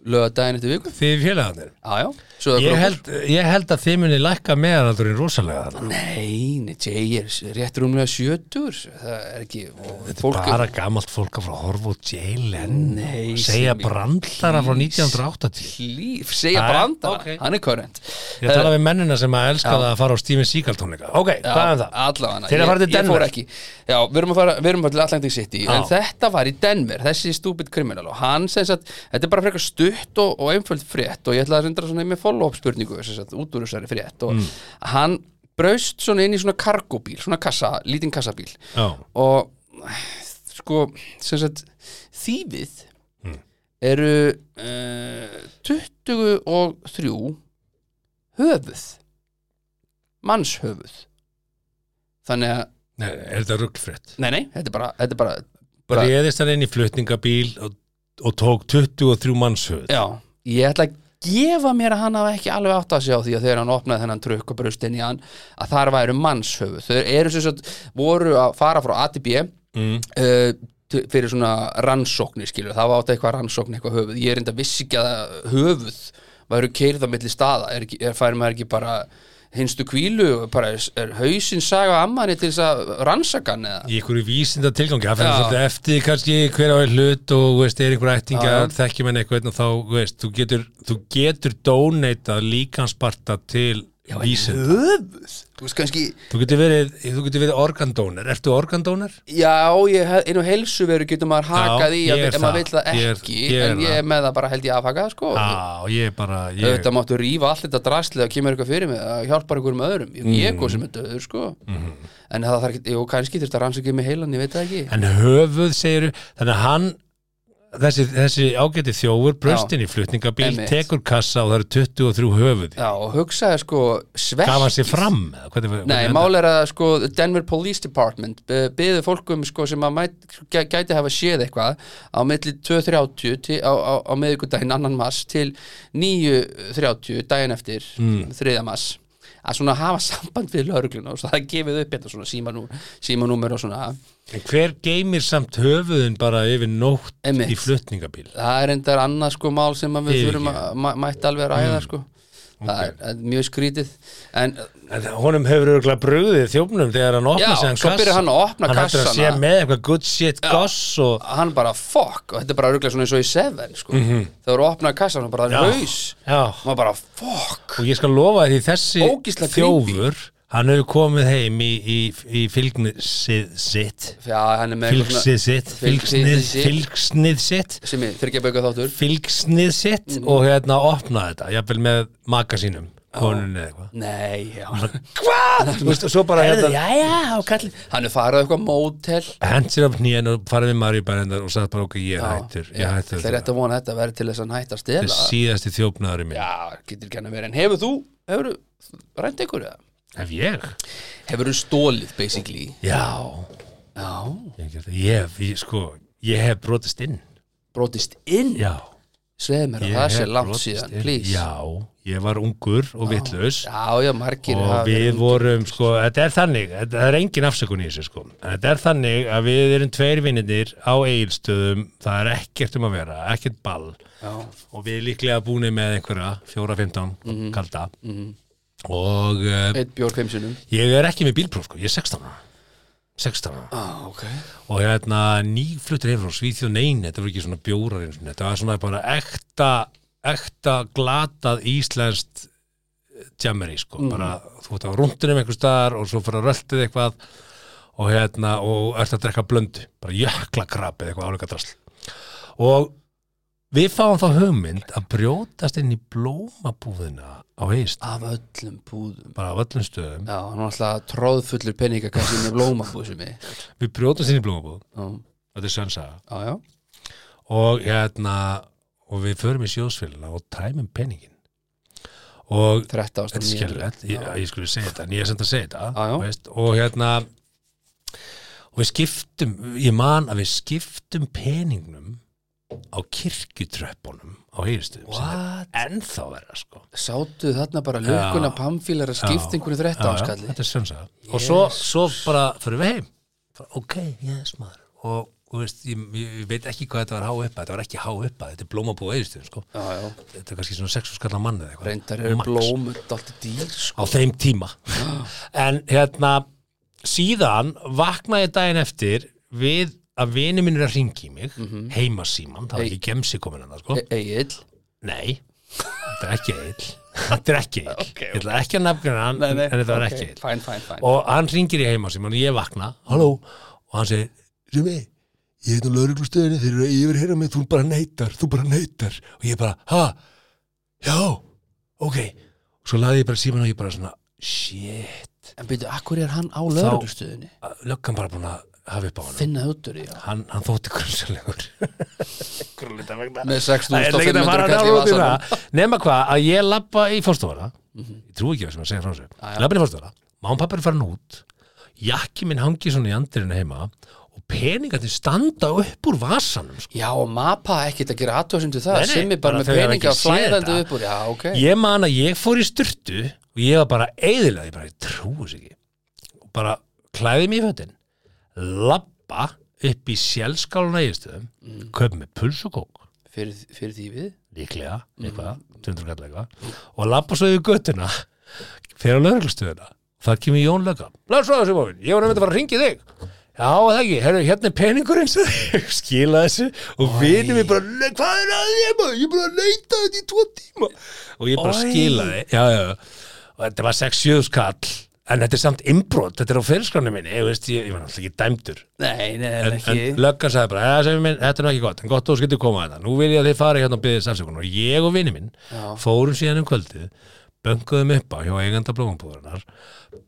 lögadaginn eftir viku Þið félagarnir Já, já, svo ég held, ég held að þið muni lækka meðanaldurinn rosalega þarna Nei, nei, Jay er rétt rúmlega sjötur það er ekki og fólk er- bara gamalt fólk að fara að horfa út jailen Nei, segja sem í brandlara frá 1980 klíf, segja Jæja, brandara, ok. hann er current ég tala við mennina sem að elska Já. það að fara á Steven Seagal tónleika ok, hvað er það? Allavega, Þeir eru að fara til ég, ég fór Denver. ekki Já, við erum að fara, við erum að fara til Atlantic City En þetta var í Denver, þessi stupid criminal Og hann sem sagt, þetta er bara frekar stutt og, og einföld frétt Og ég ætla að reynda svona með follow-up spurningu Sem sagt, út úr þessari frétt Mm. Og hann braust svona inn í svona kargóbíl Svona kassa, lítinn kassabíl Já. Og sko, sem sagt, þýfið Hmm. eh, eru uh, 23 höfuð mannshöfuð þannig að, Nei, er þetta ruggfrétt? nei nei, þetta er bara, þetta er bara Bara réðist hann inn í flutningabíl og, og tók 23 mannshöfuð. já, ég ætla að gefa mér að hann hafa ekki alveg átt að sjá því að þegar hann opnaði þennan trukk og brust inn í hann að þar væru mannshöfuð þau eru sem sagt, voru að fara frá ATB Mm. uh, t- fyrir svona rannsóknir skilur, það var átt eitthvað rannsókn eitthvað höfuð, ég er enda vissi ekki að höfuð væru keyrð á milli staða er, ekki- er fær maður ekki bara hinstu kvílu, bara er, er hausinn saga ammanni til þess að rannsakan eða Í einhverju vísinda tilgangi, það Já. fyrir svolítið eftir kannski hver á einn hlut og þú veist, er einhver ættinga, Já, já. þekkjum henni eitthvað og þá, þú veist, þú getur, þú getur dóneitað líkansparta til vísinda. höfuð, þú veist kannski Þú getur verið, þú getur verið organdónar, ertu organdónar? já, ég, hef- inn á helsu veru getur maður hakað í ég að, er ef maður vill það. það Ég er- ekki ég er en ég er með það bara held ég afhakað sko Já, ég er bara, ég, Þetta máttu rífa allt þetta drastlið að kemur eitthvað fyrir mig að hjálpar einhverjum öðrum ég, ég Mm. er góð sem er döður sko Mhm. en það þarf ekki, jú, kannski þurft að rannsaka með heilan ég veit það ekki en höfuð segiru, þannig að hann, þessi, þessi ágæti þjófur, bröstin í flutningabíl, Einmitt. tekur kassa og það eru 23 höfuð. Já, og hugsaði sko svekk Gaf hann sér fram? eða Hvernig, hvernig Nei, endaði? mál er að sko Denver Police Department eh, byðu fólkum sko sem að mæt, gæ- gæti hafa séð eitthvað á milli 2.30 til- á, á, á miðvikudaginn annan mass til 9.30 daginn eftir mm. þriða mass að svona hafa samband við laurugluna og svo það er gefið upp þetta svona símanú, símanúmer og svona En hver geymir samt höfuðin bara yfir nótt Einmitt. í flutningabíl? það er endar annað sko mál sem að við Yfirgefið. þurfum að ma- mætti alveg að ræða sko það er, er mjög skrítið en En honum hefur örgulega brugðið þjófnum þegar hann opna Já, sig hann svo byrjar hann að opna Hann heldur kassana. að sé með eitthvað good shit goss og hann bara fuck og þetta er bara rugglega svona eins og í Seven sko. mm -hmm. þegar þú opnaði kassan og bara Mhm. Já. haus Já. og maður bara fuck og ég skal lofa því þessi Ógeðslega þjófur hann hefur komið heim í, í, í fylgnisið sitt já, hann er með eitthvað fylgsið sitt fylgsnið fylgsnið, sitt. fylgsnið sitt sem ég þurfi ekki að bauka þáttur fylgsnið sitt Mm. og hérna opna þetta jafnvel með maka sínum konunni eða eitthvað nei, já Hvað? Þú veist, og svo bara hérna já, kallið hann er farið á eitthvað mótel hent sér af nýjan og farið við Maríu bærendar og sagði bara ok, ég er hættur ég er hættur það er rétt að vona að þetta verði til þess að hann hætti að þetta stela er síðasti þjófnaður í mér já, getur ekki hann að vera en hefur þú, hefur þú rænt ykkur eða? ef ég? hefur þú stólið basically já, já, ég hef, gert það. ég hef ég, sko, ég hef brotist inn brotist inn já, sveið mér ég að það hef sé langt brotist síðan, inn. please já, ég var ungur og vitlaus já, já, margir og hafa við verið- vorum sko, þetta er þannig þetta- það er engin afsökun í þessu sko En þetta er þannig að við erum tveir vinnindir á eigilstöðum, það er ekkert um að vera ekkert ball Já. og við erum líklega búinir með einhverja 4-15 kalda og uh, Eitt bjór fimm sinnum ég er ekki með bílpróf sko, ég er 16 ára. 16 ára ah, okay. og hérna nýfluttur hefur frá Svíþjóð nein, þetta var ekki svona bjórar einu sinni, þetta var svona bara ekta ekta glatað íslenskt jammeri sko, bara þú ert á rúndunum einhvers staðar og svo fyrir að röltið eitthvað og hérna, og ert að drekka blöndu bara jökla eða eitthvað áleika drasl og við fáum þá hugmynd að brjótast inn í blómabúðina á heist, Af öllum búðum bara á öllum stöðum Já, hann var alltaf tróðfullur peningakassi með blómabúð sem ég við brjótast inn í blómabúð, Já, þetta er sönsaga já, já. og hérna og við förum í sjóðsfélina og tæmum penningin og 13 ást þetta er skelvett ég, ég skulle segja þetta, en ég er samt að segja þetta Já, já. veist, og hérna og við skiptum, ég man að við skiptum peningnum á kirkjutröppunum á heyristuðum sem er ennþá verða sko Sátu þarna bara löguna Já. pamfílar að skipta einhverju 13 Já, já, áskalli þetta er sönsa og svo, svo bara fyrir við heim bara, ok, yes maður og, og veist, ég, ég ég veit ekki hvað þetta var há uppa þetta var ekki há uppa, þetta er blómabúið eðistöðum sko. Já, já, þetta er kannski svona sexu skallar mann eða eitthvað reyndar eru Max. blómur Dalti dýr, sko á þeim tíma en hérna síðan vaknaði daginn eftir við að vini minn er að ringi mig mm Mhm. -hmm. heimasíman, það var ekki gemsi komin hann sko. E- Egill nei, þetta er ekki eill þetta er ekki eill, ég ætla ekki að nefna hann en þetta var ekki eill Fæn, fæn, fæn og hann ringir í heimasíman og ég vakna halló, og hann segir sem ég, ég heit á lauruglustöðinu þeir eru yfir hérna mig, þú bara neytar, þú bara neytar og ég bara, ha, já ok, og svo laði ég bara síman og ég bara svona, shit En byrju, akkur er hann á lögreglustuðinni? löggan bara búin að hafa upp á hann Finnaði út úr í hann hann, hann þótti grunnsalegur Með Það er 6.500 ekkert að fara kall í náður út í vasanum. það nema hvað, að ég lappa í fórstofana ég trú ekki að sem að segja frá þessu Já, já. lefnir fórstofara, máum pappa er farin út jakki minn hangi svona í andirinu heima og peningarnir standa upp úr vasanum sko. Já, og mapa ekkert að gera aðtöðsyndu það Nei, nei, Simmi bara bara með þau hafa peninga ekki séð flæðandi þetta. upp úr Já, ok ég man að ég fór í styrtu og ég var bara eðilega, ég bara ég trúi þess ekki og bara klæði mig í fötin labba upp í sjálfskáluna eðistöðum mm. köp með puls og kók fyrir, fyrir því við líklega, eitthvað, 200 kall eitthvað og lappa svo í göttuna fyrir á lögreglustöðuna það kemur Jón löggan, blöð svo þessu mófin ég var nefnt að fara að ringi þig já, það ekki, herru, hérna er peningurinn sem ég skila þessu og vinur mér bara "Nei, hvað er að þér maður, ég er bara að leita þetta í tvo tíma og ég bara Oj. skilaði já, já, og þetta var 6-7 skall en þetta er samt innbrot, þetta er á fyrirskránu minni ég veist, ég, ég var náttúrulega ekki dæmdur Nei, nei, en, en, en ekki löggan sagði bara, "Jæja, Sæmi minn, þetta er nú ekki gott en gott þú skiltu koma þetta, nú vil ég að þið fara hérna og byggðið safsökun og ég og vinni minn Já. fórum síðan um kvöldið bönguðum upp á hjá eiganda blómanbúðurinnar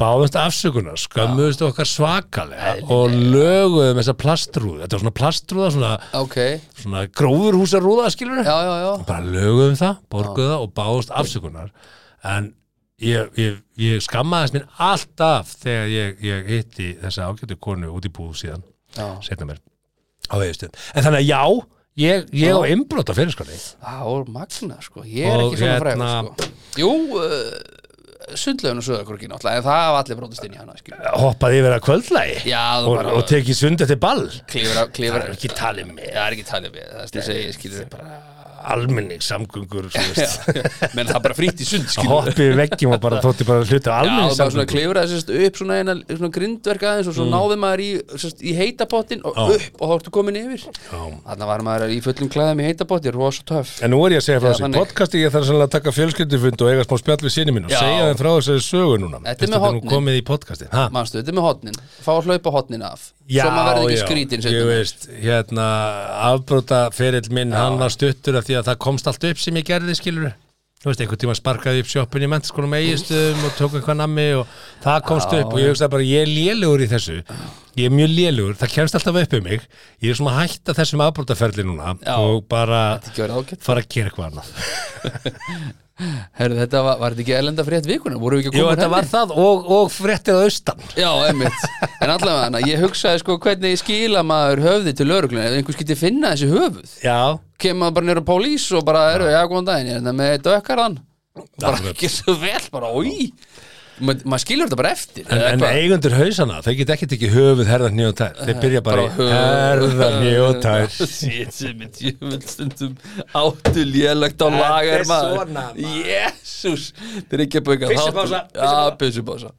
báðumst afsökunar, skömmuðust okkar svakalega og löguðum þessa plastrúð, þetta var svona plastrúða svona, Ok, svona grófurhúsarúða skilur já, já, já bara löguðum það, borguðu það og báðumst afsökunar en ég, ég, ég skammaðist minn alltaf þegar ég, ég hitti þessa ágættu konu út í búð síðan Já, setna mér á veðustöðum en þannig að já, ég, ég á Já. innbrot á fyrirskóli það var magna, sko Ég er Og ekki svona frægur, hérna- sko Jú, uh, sundlaun og söðakorki náttúrulega En það hafa allir brotist inn í hana, skil hoppaði yfir að kvöldlægi Já, það og, bara- og tekið sund eftir ball það Klifur, á- klifur er ekki talið með Það er ekki talið við, það er það að segja, skilur almenning samgöngur Menn það er bara frýtt í sund, skilur hoppið veggjum og bara þótti bara hluti Já, almenning það var svona samgöngur klifur að sérst upp svona, eina, svona grindverk aðeins og svo náði maður í, sérst, í heitapottin og Mm. Já. upp og þá ertu komin yfir Þannig var maður í fullum klæðum í heitapotti, rosa töff en nú er ég að segja frá Já, þessu þannig. podcasti ég þarf sannlega að taka fjölskyldufund og eiga smá spjall við sinni mín og Já. segja þeim frá þessu sögu núna Þetta er með nú hornin. komið í podcasti ha? Manstu, þetta er með hotnin, fá að hlaupa hotnin af Svo maður verði ekki skrítin ég seinna. veist, hérna afbróta ferill minn, hann var stuttur af því að það komst allt upp sem ég gerði skilur þú veist, einhvern tíma sparkaði ég upp sjoppun í mentaskóla með eigistum og tók eitthvað nammi og það komst upp og ég hugsaði bara ég er lélugur í þessu, ég er mjög lélugur það kemst alltaf upp um mig ég er svona að hætta þessum afbrótaferli núna Já. og bara Þetta ekki verið ágætt fara að gera eitthvað annað Herðu, þetta var, var þetta ekki erlenda frétt vikuna, voru við ekki að Jú, koma úr þetta henni? var það og, og fréttið að austan Já, einmitt, en allavega hana, ég hugsaði sko hvernig skila maður höfði til lögregluna ef einhver skyldi finna þessi höfuð Já, kemur maður bara nýra pólís og bara eru, já, góðan daginn, ég er þetta með dökkarðan bara Akkurat. ekki svo vel, bara, oi Ma, maður skilur þetta bara eftir En, eða en hvað? eigundur hausana, þeir get ekkert ekki höfuð herðar nýjótær, þeir byrja bara í herðar nýjótær Shit, sem er djöfull stundum áttu lélegt á lagar er maður svona, maður. Jésús, þeir ekki að bauka Byssupása, Já, byssupása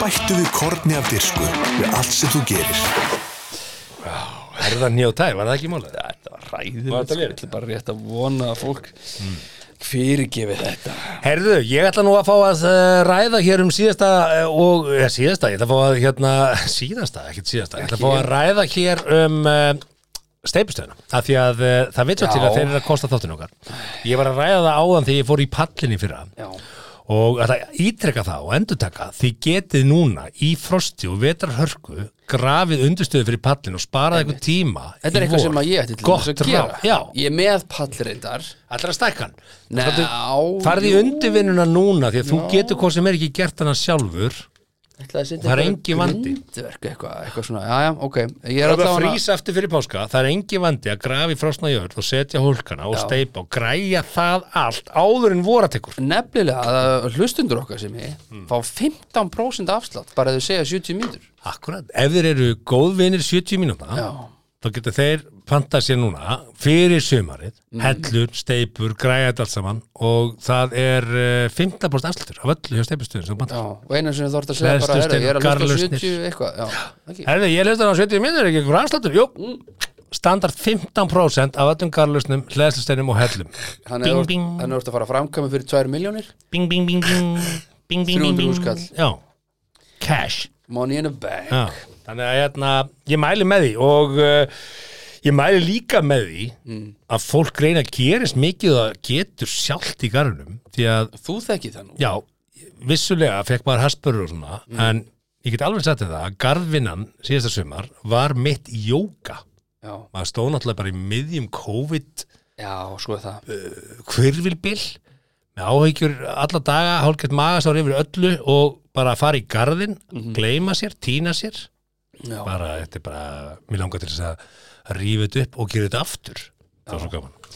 Bættu við korni af dirsku við allt sem þú gerir. Herðar nýjótær, var það ekki málið? Þetta var sko. ræðið Var þetta lélegt? Hmm. Þetta bara rétt að vona að fólk fyrirgefi þetta Herðu, ég ætla nú að fá að eh, ræða hér um síðasta eh, og, eða síðasta, ég ætla að fá að hérna, síðasta, ekkert síðasta, ég ætla að fá að ræða hér um uh, steipustöðuna, af því að uh, það veit svo til Já. að þeir eru að kosta þáttinu okkar Ég var að ræða það áðan þegar ég fór í pallinni fyrra Já, og að það ítreka það og endurtaka því getið núna í frosti og vetrarhörku grafið undirstöðu fyrir pallin og sparað eitthvað tíma þetta er í eitthvað vor. sem að ég ætti til gott þess að gera ráð, já, Ég er með pallreindar allra stækkan Ná, farði í jú. undirvinnuna núna því að þú getur hvað sem er ekki gert hana sjálfur Það Það er engin vandi. Grindverk eitthvað, eitthvað svona, já, já, ok Ég er það er alltaf að hana frýsa eftir fyrir páska það er engi vandi að grafi frosna jörð og setja hólkana og Já. steipa og græja það allt áður en voratekur Nefnilega að hlustundur okkar sem ég fá 15% afslátt bara ef þau segja 70 mínútur Akkurat, ef þeir eru góðvinir 70 mínúta Já, þá getur þeir pantað sér núna fyrir sumarið, hellur, steipur, græja þetta allt saman og það er eh, 15% afslutur af öllu hjá steipustuðin sem þú já, pantar. og eina sem þú þort að segja bara Hleðslust er, ég er að hlusta á garðlausnir. 70 eitthvað já, ekki. Herði, ég leist það á 70 minnur, ekki einhver afslutur? Jú, standard 15% af öllum garlusnum, hleðslusteinum og hellum. Þannig að Bing, bing. þú ert að fara að framkama fyrir 2 miljónir Bing, bing, bing, bing, bing, bing, bing, 300 bing. skall. Já, cash. Money in a bag Já, þannig að hérna, ég mæli með því og uh, ég mæli líka með því að fólk reyna að gerist mikið og getur sjálft í garðunum því að, Þú þekkið það nú já, vissulega fekk maður haspurur og svona, en ég get alveg sagt þetta að garðvinnan síðasta sumar var mitt jóka Já, maður stóð náttúrulega bara í miðjum COVID já, svo er sko það hvirvilbill með áhyggjur alla daga, hálfgett magasár yfir öllu og bara fara í garðin, gleyma sér, týna sér Já. bara, þetta er bara mér langar til þess að rífa þetta upp og gera þetta aftur það var svo gaman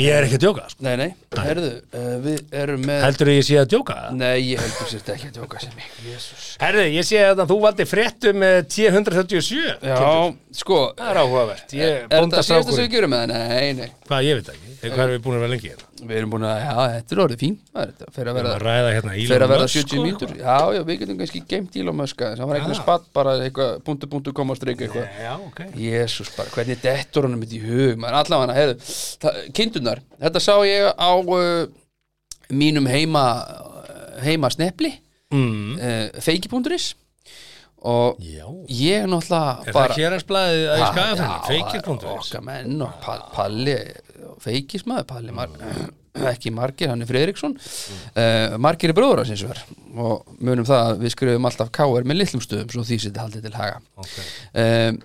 ég er ekki að djóka, sko. Nei, nei, herðu, uh, við erum með heldur ég sé að djóka Nei, ég heldur sér þetta ekki að tjóka sem ég Jésús herðu, ég sé að þú valdi fréttum eh, 1037 Já, sko það er áhugavert ég, Er þetta síðasta sem bóndastrákur, við gerum með það? Nei, nei hvað ég veit ekki hvað erum við búin að vera lengi hérna Við erum búin að, já, þetta er orðið fín maður, Þetta fer að Við erum að verða ræða hérna Elon Fyrir að verða Musk 70 og mínútur eitthvað. Já, já, við getum kannski geimt Elon Musk aðeins. Hann var eitthvað Já. spatt bara eitthvað Puntu, puntu, koma, streik eitthvað Já, ok Jésús bara, hvernig dettur honum þetta í hug maður allavega hana, heyrðu, kindunar þetta sá ég á uh, mínum heima eh, heima snepli mm. uh, feiki.is og Já. ég náttúrulega Er það bara hérarsblæðið að í Ha, skagafennu? já, Feikir.is okkar menn og pa Palli feikismæður, Palli mar ekki margir, hann er Fredriksson uh, margir er bróður hans eins og ver og munum það að við skrifum alltaf káir með litlum stöðum svo því sér haldið til haga Ok. um,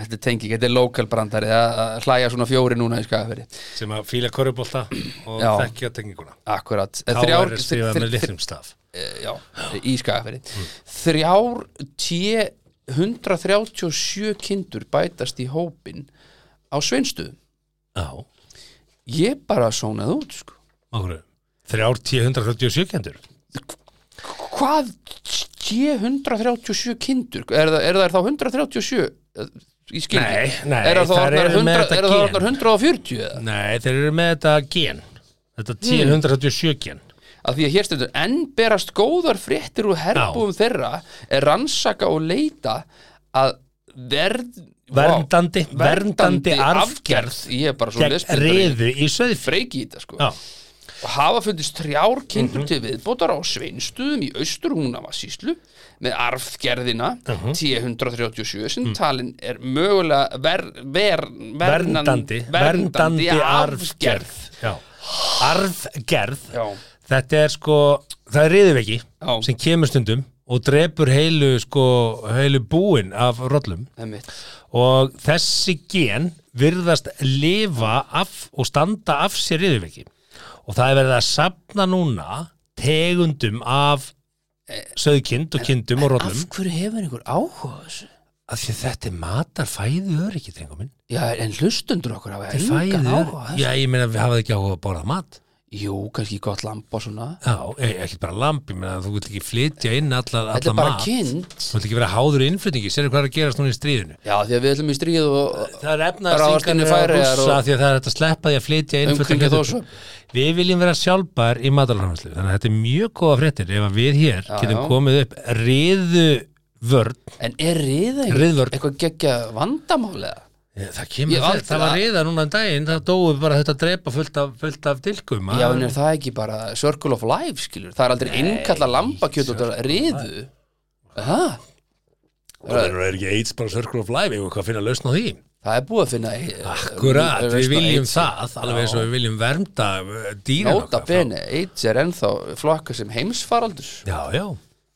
þetta er tenging, þetta er local brandari að að hlæja svona fjóri núna í skafafyrir Sem að fíla körubólta og Já. þekkja tenginguna akkurat, Eh, Þá er það skrifað með þr, eh, litlum Hmm. staf já, í skafafyrir þrjár tje 137 kindur bætast í hópin á sveinstuðum Já, ég bara sónaði út sko. okkur Þrjár 1037 kendur hvað sé 137 kindur er það, er það er þá 137 í skildi Nei, nei, er það þá þær orðnar eru 100 með þetta er það þá gen. orðnar 140 eða? Nei, þeir eru með þetta gen Þetta 1037 gen að því að hér stendur enn berast góðar fréttir úr herbúum þeirra er rannsaka og leita að verð Verndandi, Vá, verndandi arfgerð ég er bara svo Gegn lesbindari reyðu í söðfri freiki í þetta sko Já, og hafa fundist þrjár Mhm. kindur til viðbótar á sveinstuðum í Östurhúnavassíslu með arfgerðina Mhm. T137 sem talin er mögulega ver, ver, vernan, verndandi Verndandi arfgerð Já, arfgerð Já, Þetta er sko, það er riðuveiki Já. sem kemur stundum og drepur heilu, sko, heilu búin af rollum einmitt. og þessi gen virðast lifa af og standa af sér riðuveiki og það er verið að safna núna tegundum af söðkind og kindum og rollum Af hverju hefur einhver áhuga á þessu? af því að þetta er matar fæðu öryggi, drengum minn Já, en hlustundur okkur hafa Þetta er engan fæðu áhuga á öryggi. þessu Já, ég meina við hafaði ekki áhuga að borða mat Jú, kannski gott lampa og svona Já, e- ekki bara lamp, ég meina þú vilt ekki flytja inn alla, alla mat Þetta er bara kind Þú vilt ekki vera háður í innflytningi, sér hvað er að gerast núna í stríðinu Já, því að við ætlum í stríð og Það er Ráðast inn í efnaðarsingarnir á Færeyjar rússa og- því að það er hægt að sleppa því að flytja inn fullt af Umkringja kjöti. Þórsvötn. Við viljum vera sjálfbær í matalaframslu þannig að þetta er mjög góða fréttir ef að við hér getum já. komið upp riðu vörn En er riða einhver- Riðvörn. eitthvað geggja vandamálega? það Ég kemur aldrei- þetta, það var riða núna um daginn það dóu bara þetta að drepa fullt af, fullt af tilkum Já, en er það ekki bara circle of life, skilur? Það er aldrei innkalla lambakjöt og það riðu. Ha? það er ekki AIDS bara circle of life eða hvað finna að lausna á því Það er búið að finna... Akkurat, lausn á við viljum AIDS. það alveg eins og við viljum vernda dýra Nóta bene, AIDS er ennþá flokka sem heimsfaraldur. Já, já,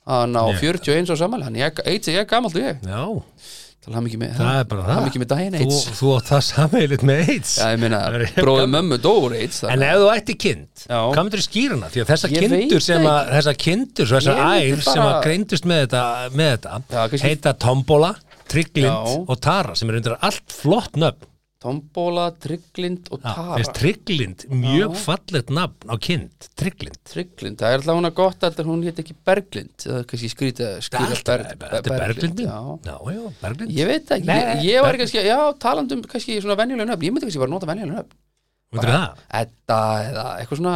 Hann á Ég- 41 og samal, hann er, AIDS er ég gamalt og ég. já, Það er mikið með, það er bara það mikið með daginn AIDS. Þú, þú átt það samveilit með AIDS Já, ég meina, Það er- bróðið mömmu dóur AIDS. En þannig ef þú ætti kind, Já. hvað myndir skýra hana? Því að þessar Ég kindur veit sem að, þessar kindur, svo þessar Ég myndi ær sem að bara- greindust með þetta, með þetta Já, kannski- heita Tombola, Trygglind Já. og Tara sem er undir allt flott nöfn. að Tombóla, Trygglind og Já, Tara. Finnst Trygglind mjög fallegt nafn á kind, Trygglind. Trygglind, það er alltaf hún að gott að hún hétt ekki Berglind eða kannski skrýta Þetta skýra er allt- þetta er Berglindin. já. Já, já, Berglind. Ég veit það ekki, Nei, ég, ég var Berglind. kannski, já, talandum kannski svona venjulega nöfn, ég myndi kannski bara nota venjulega nöfn Myndir það? Edda eða eitthvað svona,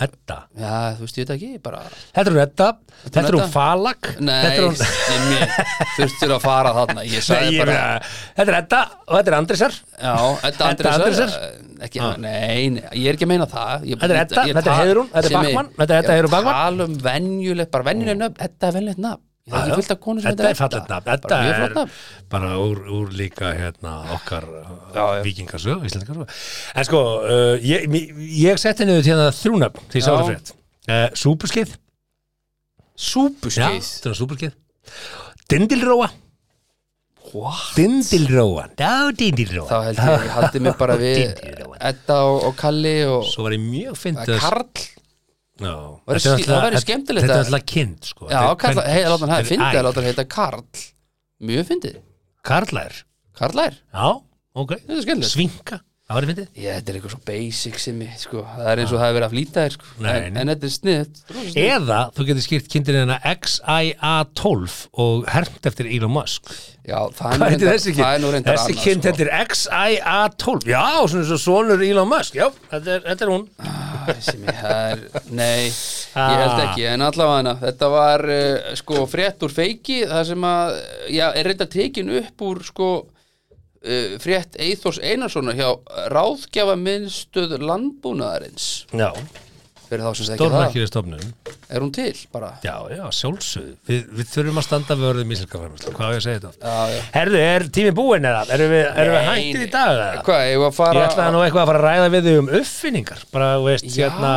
Þetta. já, þú veist, ég veit það ekki, bara Þetta er hún Edda, þetta er hún Edda. Falag, Nei, þetta er hún... Jimmy, þurftir að fara þarna, ég Nei, sagði ég bara meina, Þetta er Edda og þetta er Andrisar. Já, Edda Edda Andresar Andrésar? Ah. Ekki, nei, nei, ég er ekki að meina það ég, Þetta er Edda, þetta er Heiðrún, þetta er Bachmann, þetta er Edda Heiðrún Bachmann. Tala um venjuleg, bara venjuleg nöfn, Edda er venjulegt nafn Ég Ah, Já, þekki já. fullt af konu sem Þetta heitir er fallet nafn, þetta Bara mjög er flott nafn. bara úr, úr líka hérna, okkar Já, já. vikingarsög, íslendingarsög En sko, uh, ég, mi- ég setti niður til það þrjúnöfn, því sá Já. það frétt uh, Súpurskeið, já, Súpuskeið þetta er súpurskeið Dindilróa What? Dindilróa, já, dindilróa Þá held ég, ég haldi mig bara við Dindilróa. Edda og, og Kalli og Svo var ég mjög fyndið Karl Já. Væri Þetta er skil- það náttúrulega- væri skemmtilegt Þetta er að- alltaf kind sko. Já, kalla, hei, láta hann hafa fyndið, Æ, láta hann heita Karl Mjög fyndið, Karlær Karlær Já, ok Þetta er skemmtilegt Svinka, það var fyndið Já, þetta er eitthvað svo basic sem ég, sko Það er eins og það er verið að flýta þér, sko Nei, en, nei. en þetta er sniðt Eða þú getur skýrt kindin hérna XIA12 og hermt eftir Elon Musk Já, það er nú Hvað heitir reyndar- þessi það er kind? nú reyndar Þessi hérna. annað, kind sko. heitir XIA12 Já, svona svo sonur Elon Musk Já, þetta er, þetta er hún sem ég er, nei ég held Ah. ekki, en allavega þetta var uh, sko frétt úr feiki það sem að, já, er reynda tekin upp úr sko uh, frétt Eithors Einarssonar hjá ráðgjafa minnstöð landbúnaðarins Já, fyrir þá sem segja það, stórnarkýri stofnun er hún til bara Já, já, sjálfsögðu Vi, Við þurfum að standa við orðið mísilka framherslu Hvað á ég að segja þetta? Já, já. Herðu, er tími búin eða? Erum við, erum við Nei, hættir nei. í dag? eða? hvað, ég var að Ég fara ætlaði nú eitthvað að fara að ræða við þig um uppfinningar Bara, þú veist, já, hérna,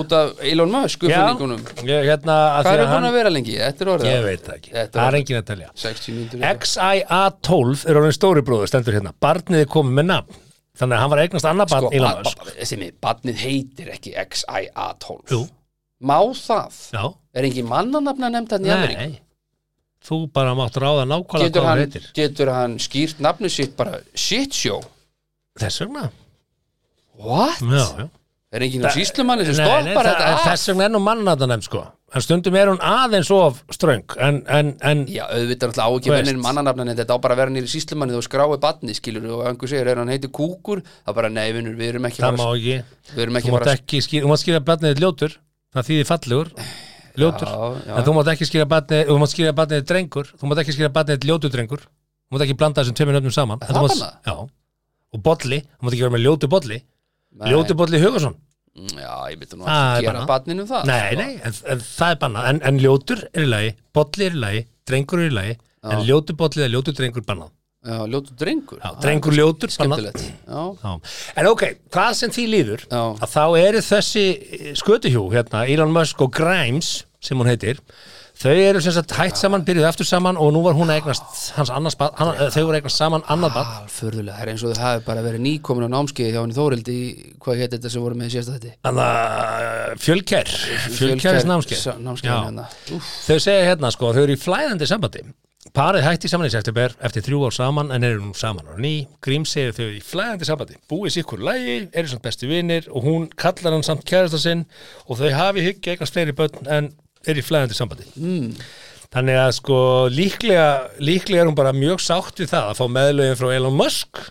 út af Elon Musk uppfinningunum, Já, ég- hérna að hvað því er að hann hann að vera lengi, þetta er orðið Ég veit það ekki, Þetta það var- er engin að telja 60 mínútur í- XIA12 er orðin stóri bróður, stendur hérna Barnið er komið með nafn, þannig að hann var að eignast annað barn sko, í ba- Lamas ba- sem ég, badnið heitir ekki XIA12 Jú, má það já, er engin mannanafna nefnd hann í Ameríku nei Þú bara mátt ráða nákvæmlega getur hvað hann hann, heitir getur hann skýrt nafnu sitt bara shit show Þess vegna what? já, já. er engin á síslumanni sem Nei, nei, stoppar það- þetta Ah, en af? Þess vegna er nú mannanatanefn sko En stundum er hún aðeins of ströng En, en, en já, auðvitað er alltaf á ekki Þú veist. verðin mannanafna en þetta á bara að vera nýri síslumanni og skrái badni skilur og einhver segir, er hann heiti kúkur það bara, nei vinnur, við erum ekki það má að- ekki við erum Þú ekki mátt bara ekki skýra, þú mátt skýra barnið þitt ljótur Það þýðir fallegur Ljótur Já, já. En þú mátt ekki skýra barnið, þú mátt skýra barnið þitt drengur Þú mátt ekki skýra barnið þitt ljótur drengur Þú mátt ekki blanda þessum tveimur nöfnum saman En það þú mátt- bannað? Já, og bolli, þú mátt ekki vera með ljótu bolli Ljótu bolli Hugason Mm, já, ég veit nú Það er að gera bannað. badninu það Ah, Nei, nei, en, en það er bannað en, en ljótur er í lagi, bolli er í lagi Drengur er í lagi, en ljótu bolli eða ljótu drengur bannað já, ljótu drengur Ah, Já, drengur ljótur bannað skemmtilegt já, Já. En ok, hvað sem því líður Já. að þá eru þessi eh, skötuhjú hérna, Elon Musk og Grimes sem hún heitir, þau eru sem sagt hætt saman, byrjuð aftur saman og nú var hún að eignast hans annars bad, hann, eh, þau voru að eignast saman annað bad, alförðulega, það er eins og það hafi bara verið nýkomin á námskeið hjá henni Þórildi í- hvað hétt þetta sem voru með sérst þetta hann að eh, fjölkær fjölkæris námskeið Sa- námskeið Já. hérna. Úff. þau segja hérna sko, þau eru í flæðandi sambandi parið hætti saman í september eftir þrjú ár saman en eru nú saman á ný Grím segir þau í flæðandi sambandi búið sikkur lægi, eru samt bestu vinir og hún kallar hann samt kærasta sinn og þau hafi hyggja eignast fleiri börn en eru í flæðandi sambandi mm. þannig að sko líklega líklega er hún bara mjög sátt við það að fá meðlögin frá Elon Musk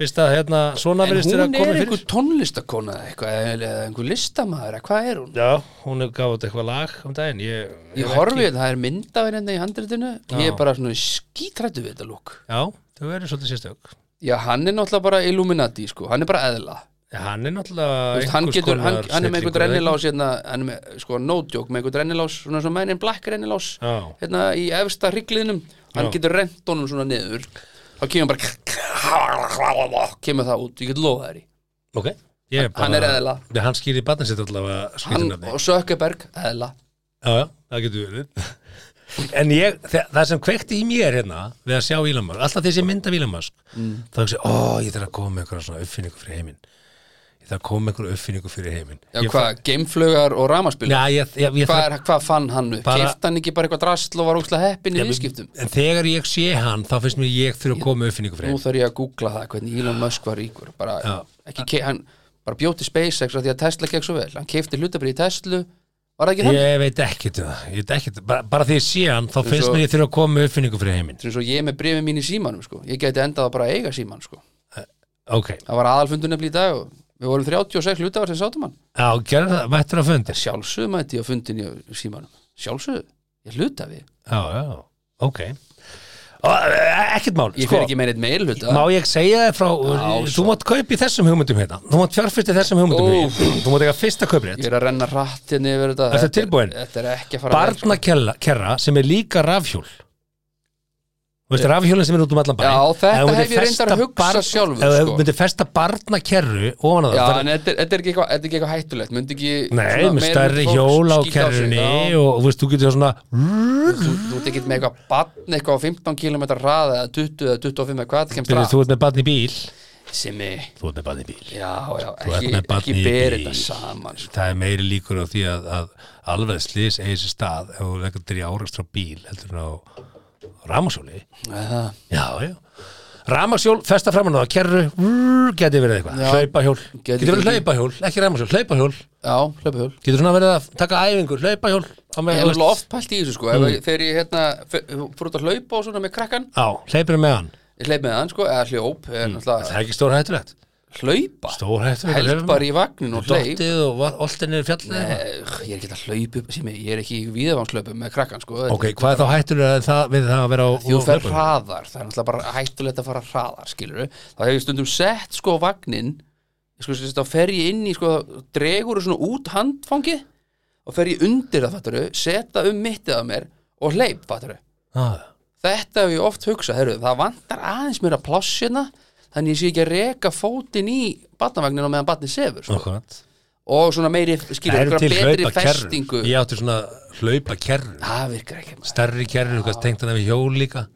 fyrst að hérna svona En verðist þér hún að er koma fyrir einhver tónlistakona eða eitthvað, eða eða einhver listamaður, eða hvað er hún? Já, hún hefur gáð út eitthvað lag um daginn Ég, Ég horfi þetta, það er mynd af henni hérna í handritinu, ég er bara svona skítrættu við þetta lúk. Já, þau eru svolítið sérstök Já, hann er náttúrulega bara Illuminati, sko, hann er bara eðla. Já, Hann er Þú náttúrulega veist, hann einhvers getur, hann, konar hann er með einhvern snillingur, eða rennilás, hérna, hann er með, sko, no joke, með einhvern rennilás, svona svona menn in black rennilás, Já. hérna í efsta hrygglinum, hann Já. getur rent honum svona niður, þá kemur bara, kemur það út, ég get lofa þær í. ekki? Ok Ég bara, Hann er eðla. Nei, Hann skýrir barnið sitt allavega Hann skýtinafni og Sökkeberg, eðla. Já, já, það getur verið En ég, þa það sem kveikti í mér hérna við að sjá Ílamask, alltaf þessi mynd af Ílamask mm. þá hugsi, ó, ég þarf að koma með einhverja svona uppfinningu fyrir heiminn Ég þarf að koma með einhverja uppfinningu fyrir heiminn Já, Ég fa- hvað, geimflugar og ramaspil? Já, ég, ég, ég hvað, þarf er, hvað fann hann upp? Bara- Bara... Keift hann ekki bara eitthvað drasl og var óslega heppin í viðskiptum? En þegar ég sé hann, þá finnst mér ég þurfa að koma með uppfinningu Nú fyrir heiminn þarf ég að googla það, hvernig Elon Musk var ríkur bara, Já. ekki, ke- hann bara bjóti SpaceX af því að Tesla gekk svo vel hann keifti hlutabrið í Tesla var það ekki þannig? Ég veit ekkert um það, ég veit ekkert, bara, bara því ég sé hann þá finnst svo- mér ég þurfa að koma með uppfinningu fyrir heiminn Svo eins og ég með brefið mín í símanum sko. ég gæti endað að bara eiga síman sko. Ok, það var aðalfundur nefnilega í dag og við vorum 36 hlutafar sem sátum hann já, gerðu það, mættur að fundir sjálfsögðu mætti ég á fundin í símanum sjálfsögðu, ég hlutafi Já, já, ok Og, e- Ekkert mál, ég sko fer ekki með neitt meil hluta Má ég segja þér frá, þú mátt kaupi þessum hugmyndum hérna Þú mátt fjárfyrsti þessum hugmyndum Úff. hérna Þú mátt eiga fyrsta ég kauprétt er að renna rætt hérna yfir þetta Ertu Þetta er- tilbúin? þetta er ekki að fara vel, sko. Barnakerra sem er líka rafhjól Þú veist, rafhjólinn sem er út um allan bæ Já, þetta Ef þú myndir hef ég reyndar að festa hugsa sjálfur, Ef þú sko. myndir festa barnakerru ofan á það Já, það- en þetta er, þetta er ekki eitthvað þetta er ekki eitthvað hættulegt, myndi ekki Nei, svona með meira stærri myndi fólk hjól á skýta á sig, kerrunni já. og þú veist, þú getur svona Þú þú ert ekki með eitthvað batn eitthvað á 15 km hraða eða 20 eða 25 eða hvað það kemst byrjuð, hraða þú ert með barn í bíl sem er, þú ert með barn í bíl já, já, Þú ert ekki, með barn ekki í berið bíl. þetta saman sko. það er meiri líkur á því að, að alveg slis eigi sér stað ef þú leggur þér í árekstra á bíl heldur en á rámasjóli Það- já, já Ramagsjól, festa framan á það, kerru, vrr, geti verið eitthvað, Já. hlaupahjól, Geti geti verið verið. hlaupahjól, ekki ramagsjól, hlaupahjól, Já, hlaupið hjól getur svona verið að taka æfingur, hlaupahjól, á Ég með, hef alveg oft pælt í þessu sko mm. Þegar ég hérna, fer- fór út að hlaupa og svona með krakkan á, hleypir með hann, Ég hleyp með hann sko, eða hljóp er Mm. það náttúrulega er ekki stór hættulegt, Hlaupa, stór hættulegt, held bara í vagnin og hleyp dottið og var oltið niður fjallið, Eh, Ég er ekki að hlaupa, sími, ég er ekki í viðavangslöpum með krakkan sko ok, hvað er þá hættulegt það, við það að vera á, Því þú á fer hlaupum? hraðar, það er náttúrulega bara hættulegt að fara hraðar, skilur við Það hefur stundum sett sko vagnin sko, sem sagt, þá fer ég inn í sko, dregur svona út handfangið og fer ég undir það, fattaru, seta um mittið á mér og hleyp, fattaru Ah, þetta hef ég oft hugsað, herru, það vantar aðeins mér að plássina þannig ég sé ekki að reka fótinn í batnavagninu meðan batnið sefur sko. akkurat. og svona meiri, skilur, Það eru einhverja til betri hlaupakerru festingu Ég átti svona hlaupakerru það virkar ekki maður Starri kerru, hvað tengt hann við hjól líka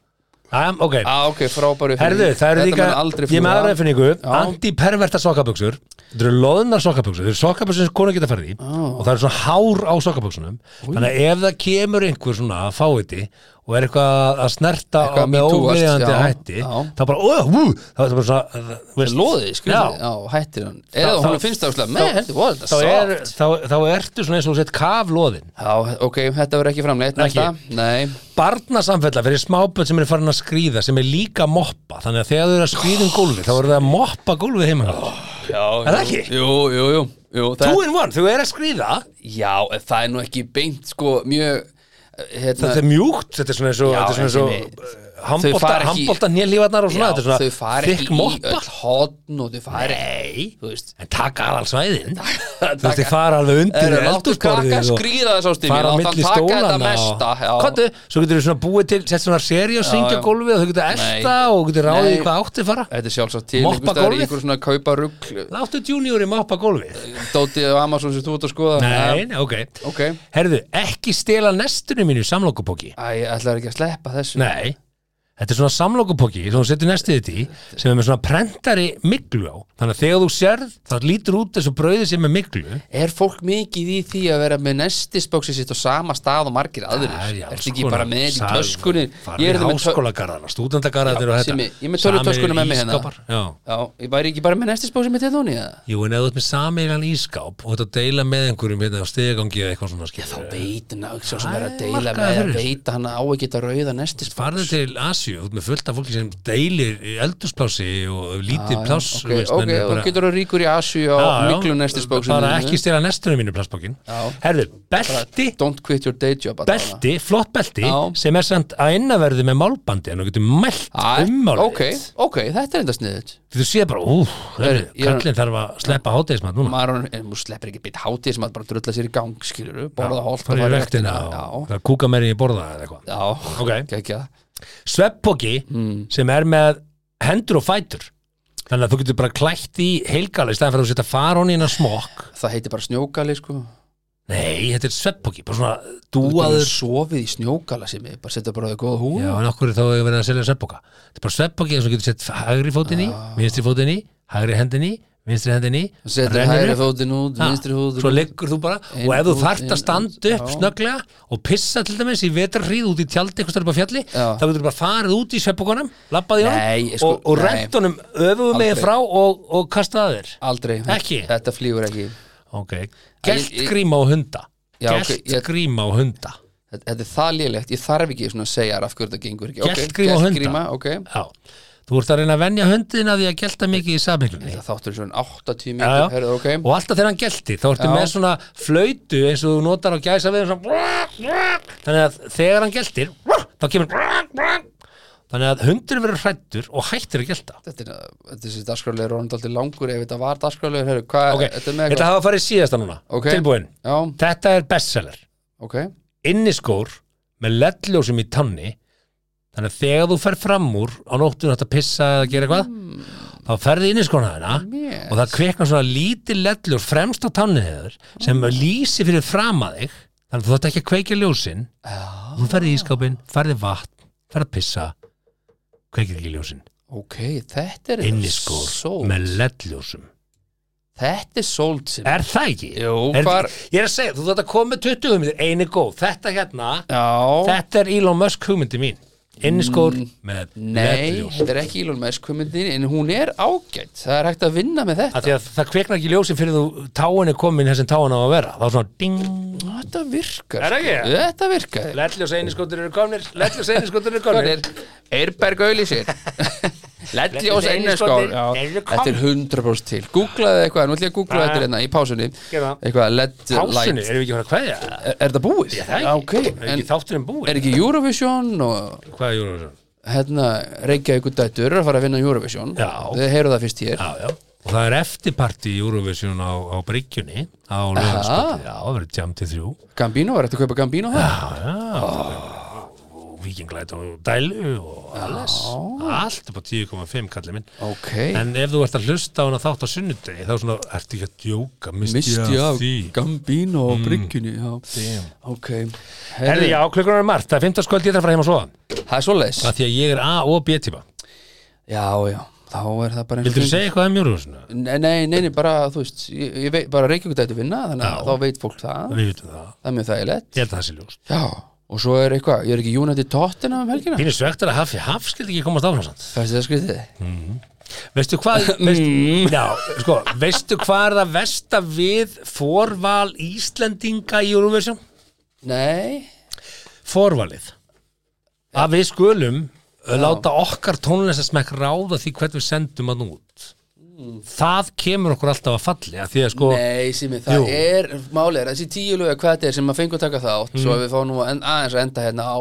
um, Ok, á, Ah, ok, frábæru herðu, það eru líka Ég er með aðra finningu, antiperverta sokkabuxur Þetta eru loðnar sokkabuxur Þetta eru sokkabuxur sem konu geta farið í Og það eru svona hár á sokkabuxunum Þannig að ef það kemur einhver svona að fáiði og er eitthvað að snerta Eitthvað á með metoo-ast, óviðjandi já, hætti já. þá bara, ó, hú, það er bara svona eh, þú veist- loðið, skilur, Já. já, hættir hann eða hún Þá- þá- finnst það þá- áslega, með, heldur, voru þetta þá, er, sátt þá, þá ertu svona eins og þú sett kaflóðin já, ok, þetta verður ekki framleitt Ekki. næsta, nei, barnasamfella fyrir smáböld sem er farin að skríða sem er líka að moppa þannig að þegar þau eru að skríða um gólfi þá eru þau að moppa gólfið heima hjá þér. já, Er það ekki? jú, jú, jú, jú það, two in one, þau eru að skríða já, en það er nú ekki beint, sko, mjög hérna, þetta er mjúkt, þetta er svona eins og, Já, þetta er svona en eins og uh, þau handbolta, fara ekki- handbolta nélífarnar og svona, Já, þetta þau er fara svona ekki þykk í moppa öll hotn og þau fara nei, þú veist en taka aðal svæðin þú taka- veist, þau fara alveg undir Eru, láttu eldhúsborðið krakka og skríða þess ástu fara á mín, milli láta hann taka þetta stólanna mesta, já. og Komdu, svo getur þau svona búið til sett svona seri og syngja já. gólfið og þau getur elta og getur ráðið Nei. í hvað áttið fara Þetta er sjálfsagt til Moppa einhvers staðar í gólfið? einhverju svona kaupa rugl Láttu juniori moppa gólfið Dótið á Amazon sem þú ert að skoða Nei, nei, ok. Ok. Herðu, ekki stela nestunum mínu samlokupóki. Æ, ég ætlaði ekki að sleppa þessu Nei, þetta er svona samlokupóki sem þú setur nestið þitt í sem er með svona prentari miglu á. Þannig að þegar þú sérð, það lítur út þessu brauði sem er miglu. Er fólk mikið í því að vera með nestisbóksi sitt á sama stað og margir aðrir? Það er í alls Ertu ekki konar bara með þetta í sal- töskunni? Farið í hérna með tö- háskólagarðana, stúdendagarðanir og þetta. Simmi, ég er með tölvutöskuna með Sameiginlegir mér hérna. ísskápar, Já. Já, ég væri ekki bara með nestisbóksi mitt hérna hún í það? Jú, en eða þú ert með sameilan ískáp og þetta deila með einhverjum hérna á stegangi eða eitthvað svona Þá skil. veit hann að, sem er að Æ, deila markaður með fyrir að þessu. veita hann á ekki að rauða nestisbóksi Farðu til Asíu, þú ert með fullt af fólki sem deilir eldursplási og lítið Já, pláss. ok, þú veist, ok, menn eru og bara- getur þú ríkur í Asju á miklu nestisbóksinu bara ekki stela nestunum mínu plastbókin Já. herðu, belti don't quit your day job allavega. belti, flott belti Já. sem er samt að innaverðu með málbandi en þú getur mælt Æ, um málið ok, ok, þetta er enda sniðið þú sé bara, úf, Herðu, ég er- kallin þarf að sleppa hátegismat núna maður en þú sleppir ekki beitt hátíð sem að bara drulla sér í gang skilur, borða hólt fara í rektina og já, það kúka meir en ég borða eða eitthvað já, Mm. Ok. ekki sveppóki sem er með hendur og fætur þannig að þú getur bara klætt í heilgali í staðan fyrir að þú setja farón í hennar smokk það heitir bara snjókali sko nei, þetta er sveppóki, bara svona þú dúaður hefur sofið í snjókala sem ég bara setja bara það góða hú Já, en okkur þá hefur verið að selja sveppbóka Þetta er bara sveppbóki eins og getur sett hægri fótinn í vinstri fótinn í, hægri hendin í vinstri hendin í, setur rennir hægri upp. fótinn út, Ha, vinstri fótinn Svo út. leggur þú bara og ef þú fót, þarft inn, að standa upp já. snögglega og pissa til dæmis í vetrarhríð út í tjaldi eitthvað stærpa fjalli, Já. þá getur bara farið út í sveppbókanum, labbað í Nei, honum sko, og, og nei. rent honum öfuðu Aldrei. megið frá og, og kastað að þér aldrei, Ekki? þetta flýgur ekki Ok, ég- gelt gríma á hunda Já, ok, gelt ég- gríma á hunda þetta þetta er það lélegt, ég þarf ekki svona að segja þér af hverju þetta gengur ekki Ok, Geltgríma og hunda. geltgríma, ok Já, þú ert að reyna að venja hundina því að gelta mikið í samiklunni Það þáttur svona 80 Já, já. mínútur, herðu, ok og alltaf þegar hann gelti þá ertu Já. með svona flöytu eins og þú notar á gæsa við þannig að þegar hann geltir þá kemur þannig að hundur verður hrættur og hættir að gelta Þetta er, þetta er sér dagskrálega rónandi alltaf langur ef þetta var dagskrálega, herru, hvað ok, þetta er með þetta eitthvað? hafa farið síðasta núna Ok. tilbúin, Já, þetta er bestseller ok, inniskór með leddljósum í tanni þannig að þegar þú fer fram úr á nóttunum þetta pissa eða gera eitthvað Hmm. þá ferði inniskóna hérna. þeirna Yes. og það kvekna svona lítið leddljós fremst á tannið þeir sem Mm. lýsi fyrir fram að þig þannig að þú þátt ekki að kveikja ljósin Ah. þú ferði í ískápin, ferði vatn ferði að pissa kveikir ekki ljósin Ok, þetta er inniskór sól. með ledljósum Þetta er sóldsinn er það ekki? Jú, er, hvar- ég er að segja, þú þátt að koma með 20 hugmyndir eini góð, þetta hérna Já, Mm. þetta er Elon Musk hugmyndi mín inniskór með nei, ledljós þetta er ekki Elon Musk hugmyndin en hún er ágætt, það er hægt að vinna með þetta að því að það kveknar ekki ljósi fyrir þú táin er komin þessum táin á að vera þá er svona ding Þetta virkar Er það sko. ekki? Þetta virkar ledljós einiskóttir eru komnir ledljós einiskóttir eru Hvað komnir er? Eirberg auðlýsir Lettljós Lettljós einarskál Einarsskál, eru Þetta komnir. er 100% til Googlaði eitthvað, nú ætlum ég að googla Já, þetta já. hérna í pásunni Gerðu það. Eitthvað LED pásunni, light erum við ekki að fara að kveðja það? Er, er þetta búið? Já, það Já, er ok ekki, er En ekki þátturinn búið er ekki Eurovision og hvað er Eurovision? hérna Reykjavíkur dættur eru að fara að vinna Eurovision Já. Þið heyru það fyrst hér já, já og það er eftirparti í Eurovision á, á Bryggjunni á Ljóðanskóttir, já, það verður jam til þrjú Gambino, er þetta að kaupa Gambino það? já, já Ah. og vikinglæt og dælu og alles, allt upp á 10,5 kallið minn Ok, En ef þú ert að hlusta á hana þátt á sunnudegi þá svona, ertu ekki að djóka, misti, misti ég af af því Mm. Gambino og bryggjunni já. Ok, Herði, Herri, já, klukkunar er margt, það er 15 skvöld ég þarf að fara heim að sofa það er svoleiðis að Því að ég er A og B típa Já, já, þá er það bara eins og Vildur þú gengur. segja eitthvað um Eurovision? Nei, nei, nei, nei, bara, þú veist, ég, ég veit, bara Reykjavík dættu vinna, þannig að þá veit fólk það, Við vitum það, það er mjög þægilegt. ég held að það sé ljós Já, og svo er eitthvað, ég er ekki United Tottenham um helgina, Pínu svegt er að Hafi Haf skildi ekki komast áfram samt fæstu það Hm. skrítið? Veistu hvað, veist, já, sko, veistu hvað er það versta við forval Íslendinga í Eurovision? Nei, Forvalið Að við skulum já. láta okkar tónlistasmekk ráða því hvernig við sendum hann út Það kemur okkur alltaf að falli að Því að sko, nei, sími, það Jú. er, málið er, þessi tíu lögja hvað þetta er sem maður fengur að taka þátt, Mhm. svo að við fáum nú að- en, aðeins að enda hérna á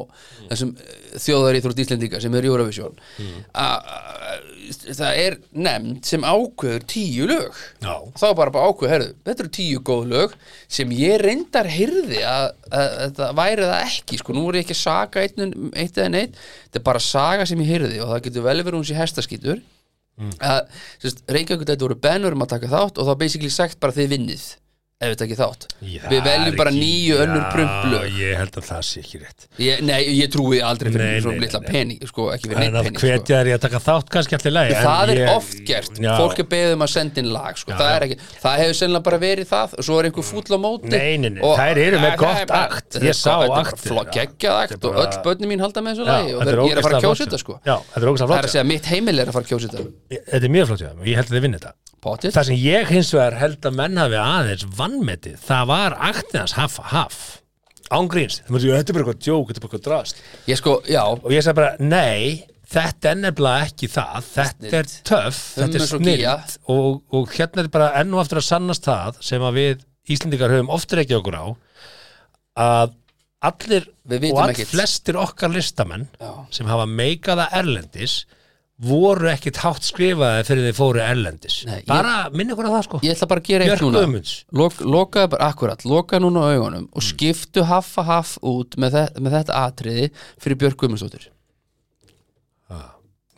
þessum eh, þjóðaríþrótt Íslendinga sem er Eurovision, Mhm. mm. það er nefnd sem ákveður tíu lög. já, þá bara bara ákveð, herðu, þetta eru tíu góð lög sem ég reyndar hyrði að, að, að þetta væri það ekki sko, nú er ég ekki að saga eitt, eitt eða neitt þetta er bara saga sem ég hyrði og það getur vel verið hún sé hestaskýtur mm. að, sérst, reyngjöngu þetta voru bennur um að taka þátt og þá er basically sagt bara þið vinnið ef þetta ekki þátt Já, við veljum bara ekki- nýju önnur Já, prumplu Ég held að það sé ekki rétt ég, nei, ég trúi aldrei fyrir Nei, nei, svona nei, litla nei, nei. pening sko, ekki fyrir En neitt að pening sko. hvetja er ég að taka þátt kannski allir lagi en það er ég- oft gert, Já. fólk er beðið um að senda inn lag sko. það, er ekki, það hefur sennilega bara verið það og svo er einhver fúll á móti Nei, nei, nei, og- þær eru með Ja, gott það er bara- akt. þetta er Ég sá gott- þetta er bara aktir, flott, já. geggjað akt Þetta er og bara- öll börnin mín halda með þessu Já, lagi og þetta þeir, ég er að fara að ógeðslega kjósa flott þetta sko Já, þetta er ógæslega það er flott að segja mitt heimil er að fara að kjósa þetta Ég- Þetta er mjög flott hjá þeim og ég held að þið vinni þetta Pottit. Það sem ég hins vegar held að menn hafi aðeins vannmetið, það var aktiðans haf, haf Ángríns, það mörgum, þetta er bara eitthvað djók, þetta er bara eitthvað drast ég sko, já, Og ég sagði bara, nei, þetta er nefnilega ekki það Þetta er Snilld. töff, þetta er Hummus og gía. snilt og, og hérna er bara enn og aftur að sannast það sem að við Íslendingar höfum oft reykja okkur á að allir Við vitum og all ekkert. flestir okkar listamenn Já. sem hafa meikaða erlendis voru ekkit hátt skrifaði fyrir þeir fóru erlendis Nei, ég- bara minni ykkur að það sko ég ætla bara að gera eitt Björk núna Ömunds Lok, lokaðu bara, akkurat, lokaðu núna á augunum Mm. og skiptu haffa haff út með, þe með þetta atriði fyrir Björk Guðmundsdóttir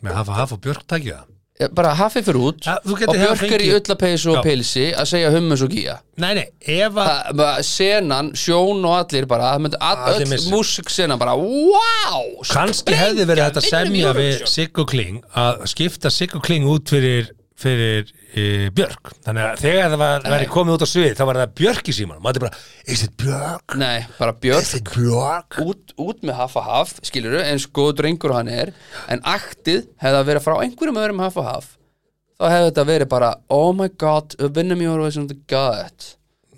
með hafa hafa og Björk takja það Ég- bara haffi fyrir út Ja, þú og getur hafa Björk er í fengið- ullapeysu og Já. pilsi að segja hummus og gíja nei nei, ef að Það- bara senan, sjón og allir bara, það myndi all, Allir öll missa. músiksenan bara, wow kannski hefði verið þetta semja við Siggo Kling að skipta Siggo Kling út fyrir, fyrir e, Björk þannig að þegar það var, væri komið út á svið þá var það Björk í símanum maður er bara, is it Björk? Nei, bara is Björk it Björk? út, út með haf að haf, skilur eins góð drengur og hann er, en aktið hefði að vera frá einhverjum öðrum haf að haf þá hefði þetta verið bara oh my god, vinnum ég voru sem þetta gætt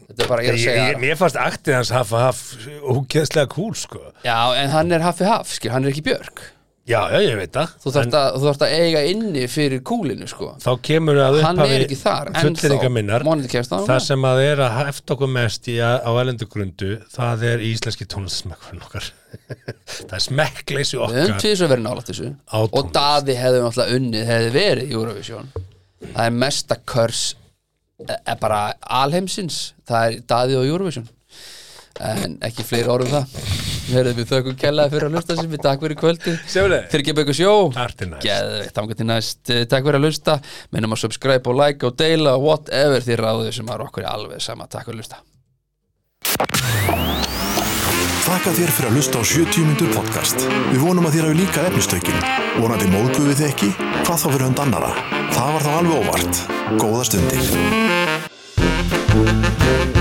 þetta er bara, ég er að Ég, ég, segja mér fannst aktið hans hafa haft ógeðslega cool sko já, en hann er haffi haf, skilur, hann er ekki Björk já, já, ég veit það þú þarft að, þú þarft að eiga inni fyrir kúlinu, sko þá kemur að Hann upphafi er ekki þar, ennþá. fulleringar minnar Vonandi kemst hann það núna. sem að er að hefta okkur mest í að, á elenduggrundu það er íslenski tónlistasmekkurinn okkar það er smekkleysi Við höfum okkar tvis að vera nálægt þessu Á Og tónlist. Daði hefði náttúrulega unnið hefði verið í Eurovision Það er mesta körs e, e, bara alheimsins Það er Daði og Eurovision En ekki fleiri orðum það Verðum við þökkum kellaði fyrir að lusta sem við takk fyrir kvöldi Sjáuleg. Fyrir gefa ykkur sjó Þar til næst. Geðveikt, þangað til næst Eh, Takk fyrir að lusta Minnum að subscribe og like og deila og Whatever þið ráðu sem er okkur alveg sama Takk fyrir að lusta þakka þér fyrir að hlusta á 70 mínútur podcast. Við vonum að þér hafi líka efnistökin. Vonandi móðguðu þið ekki, hvað þá fyrir hund annara. Það var þá alveg óvart. Góða stundir.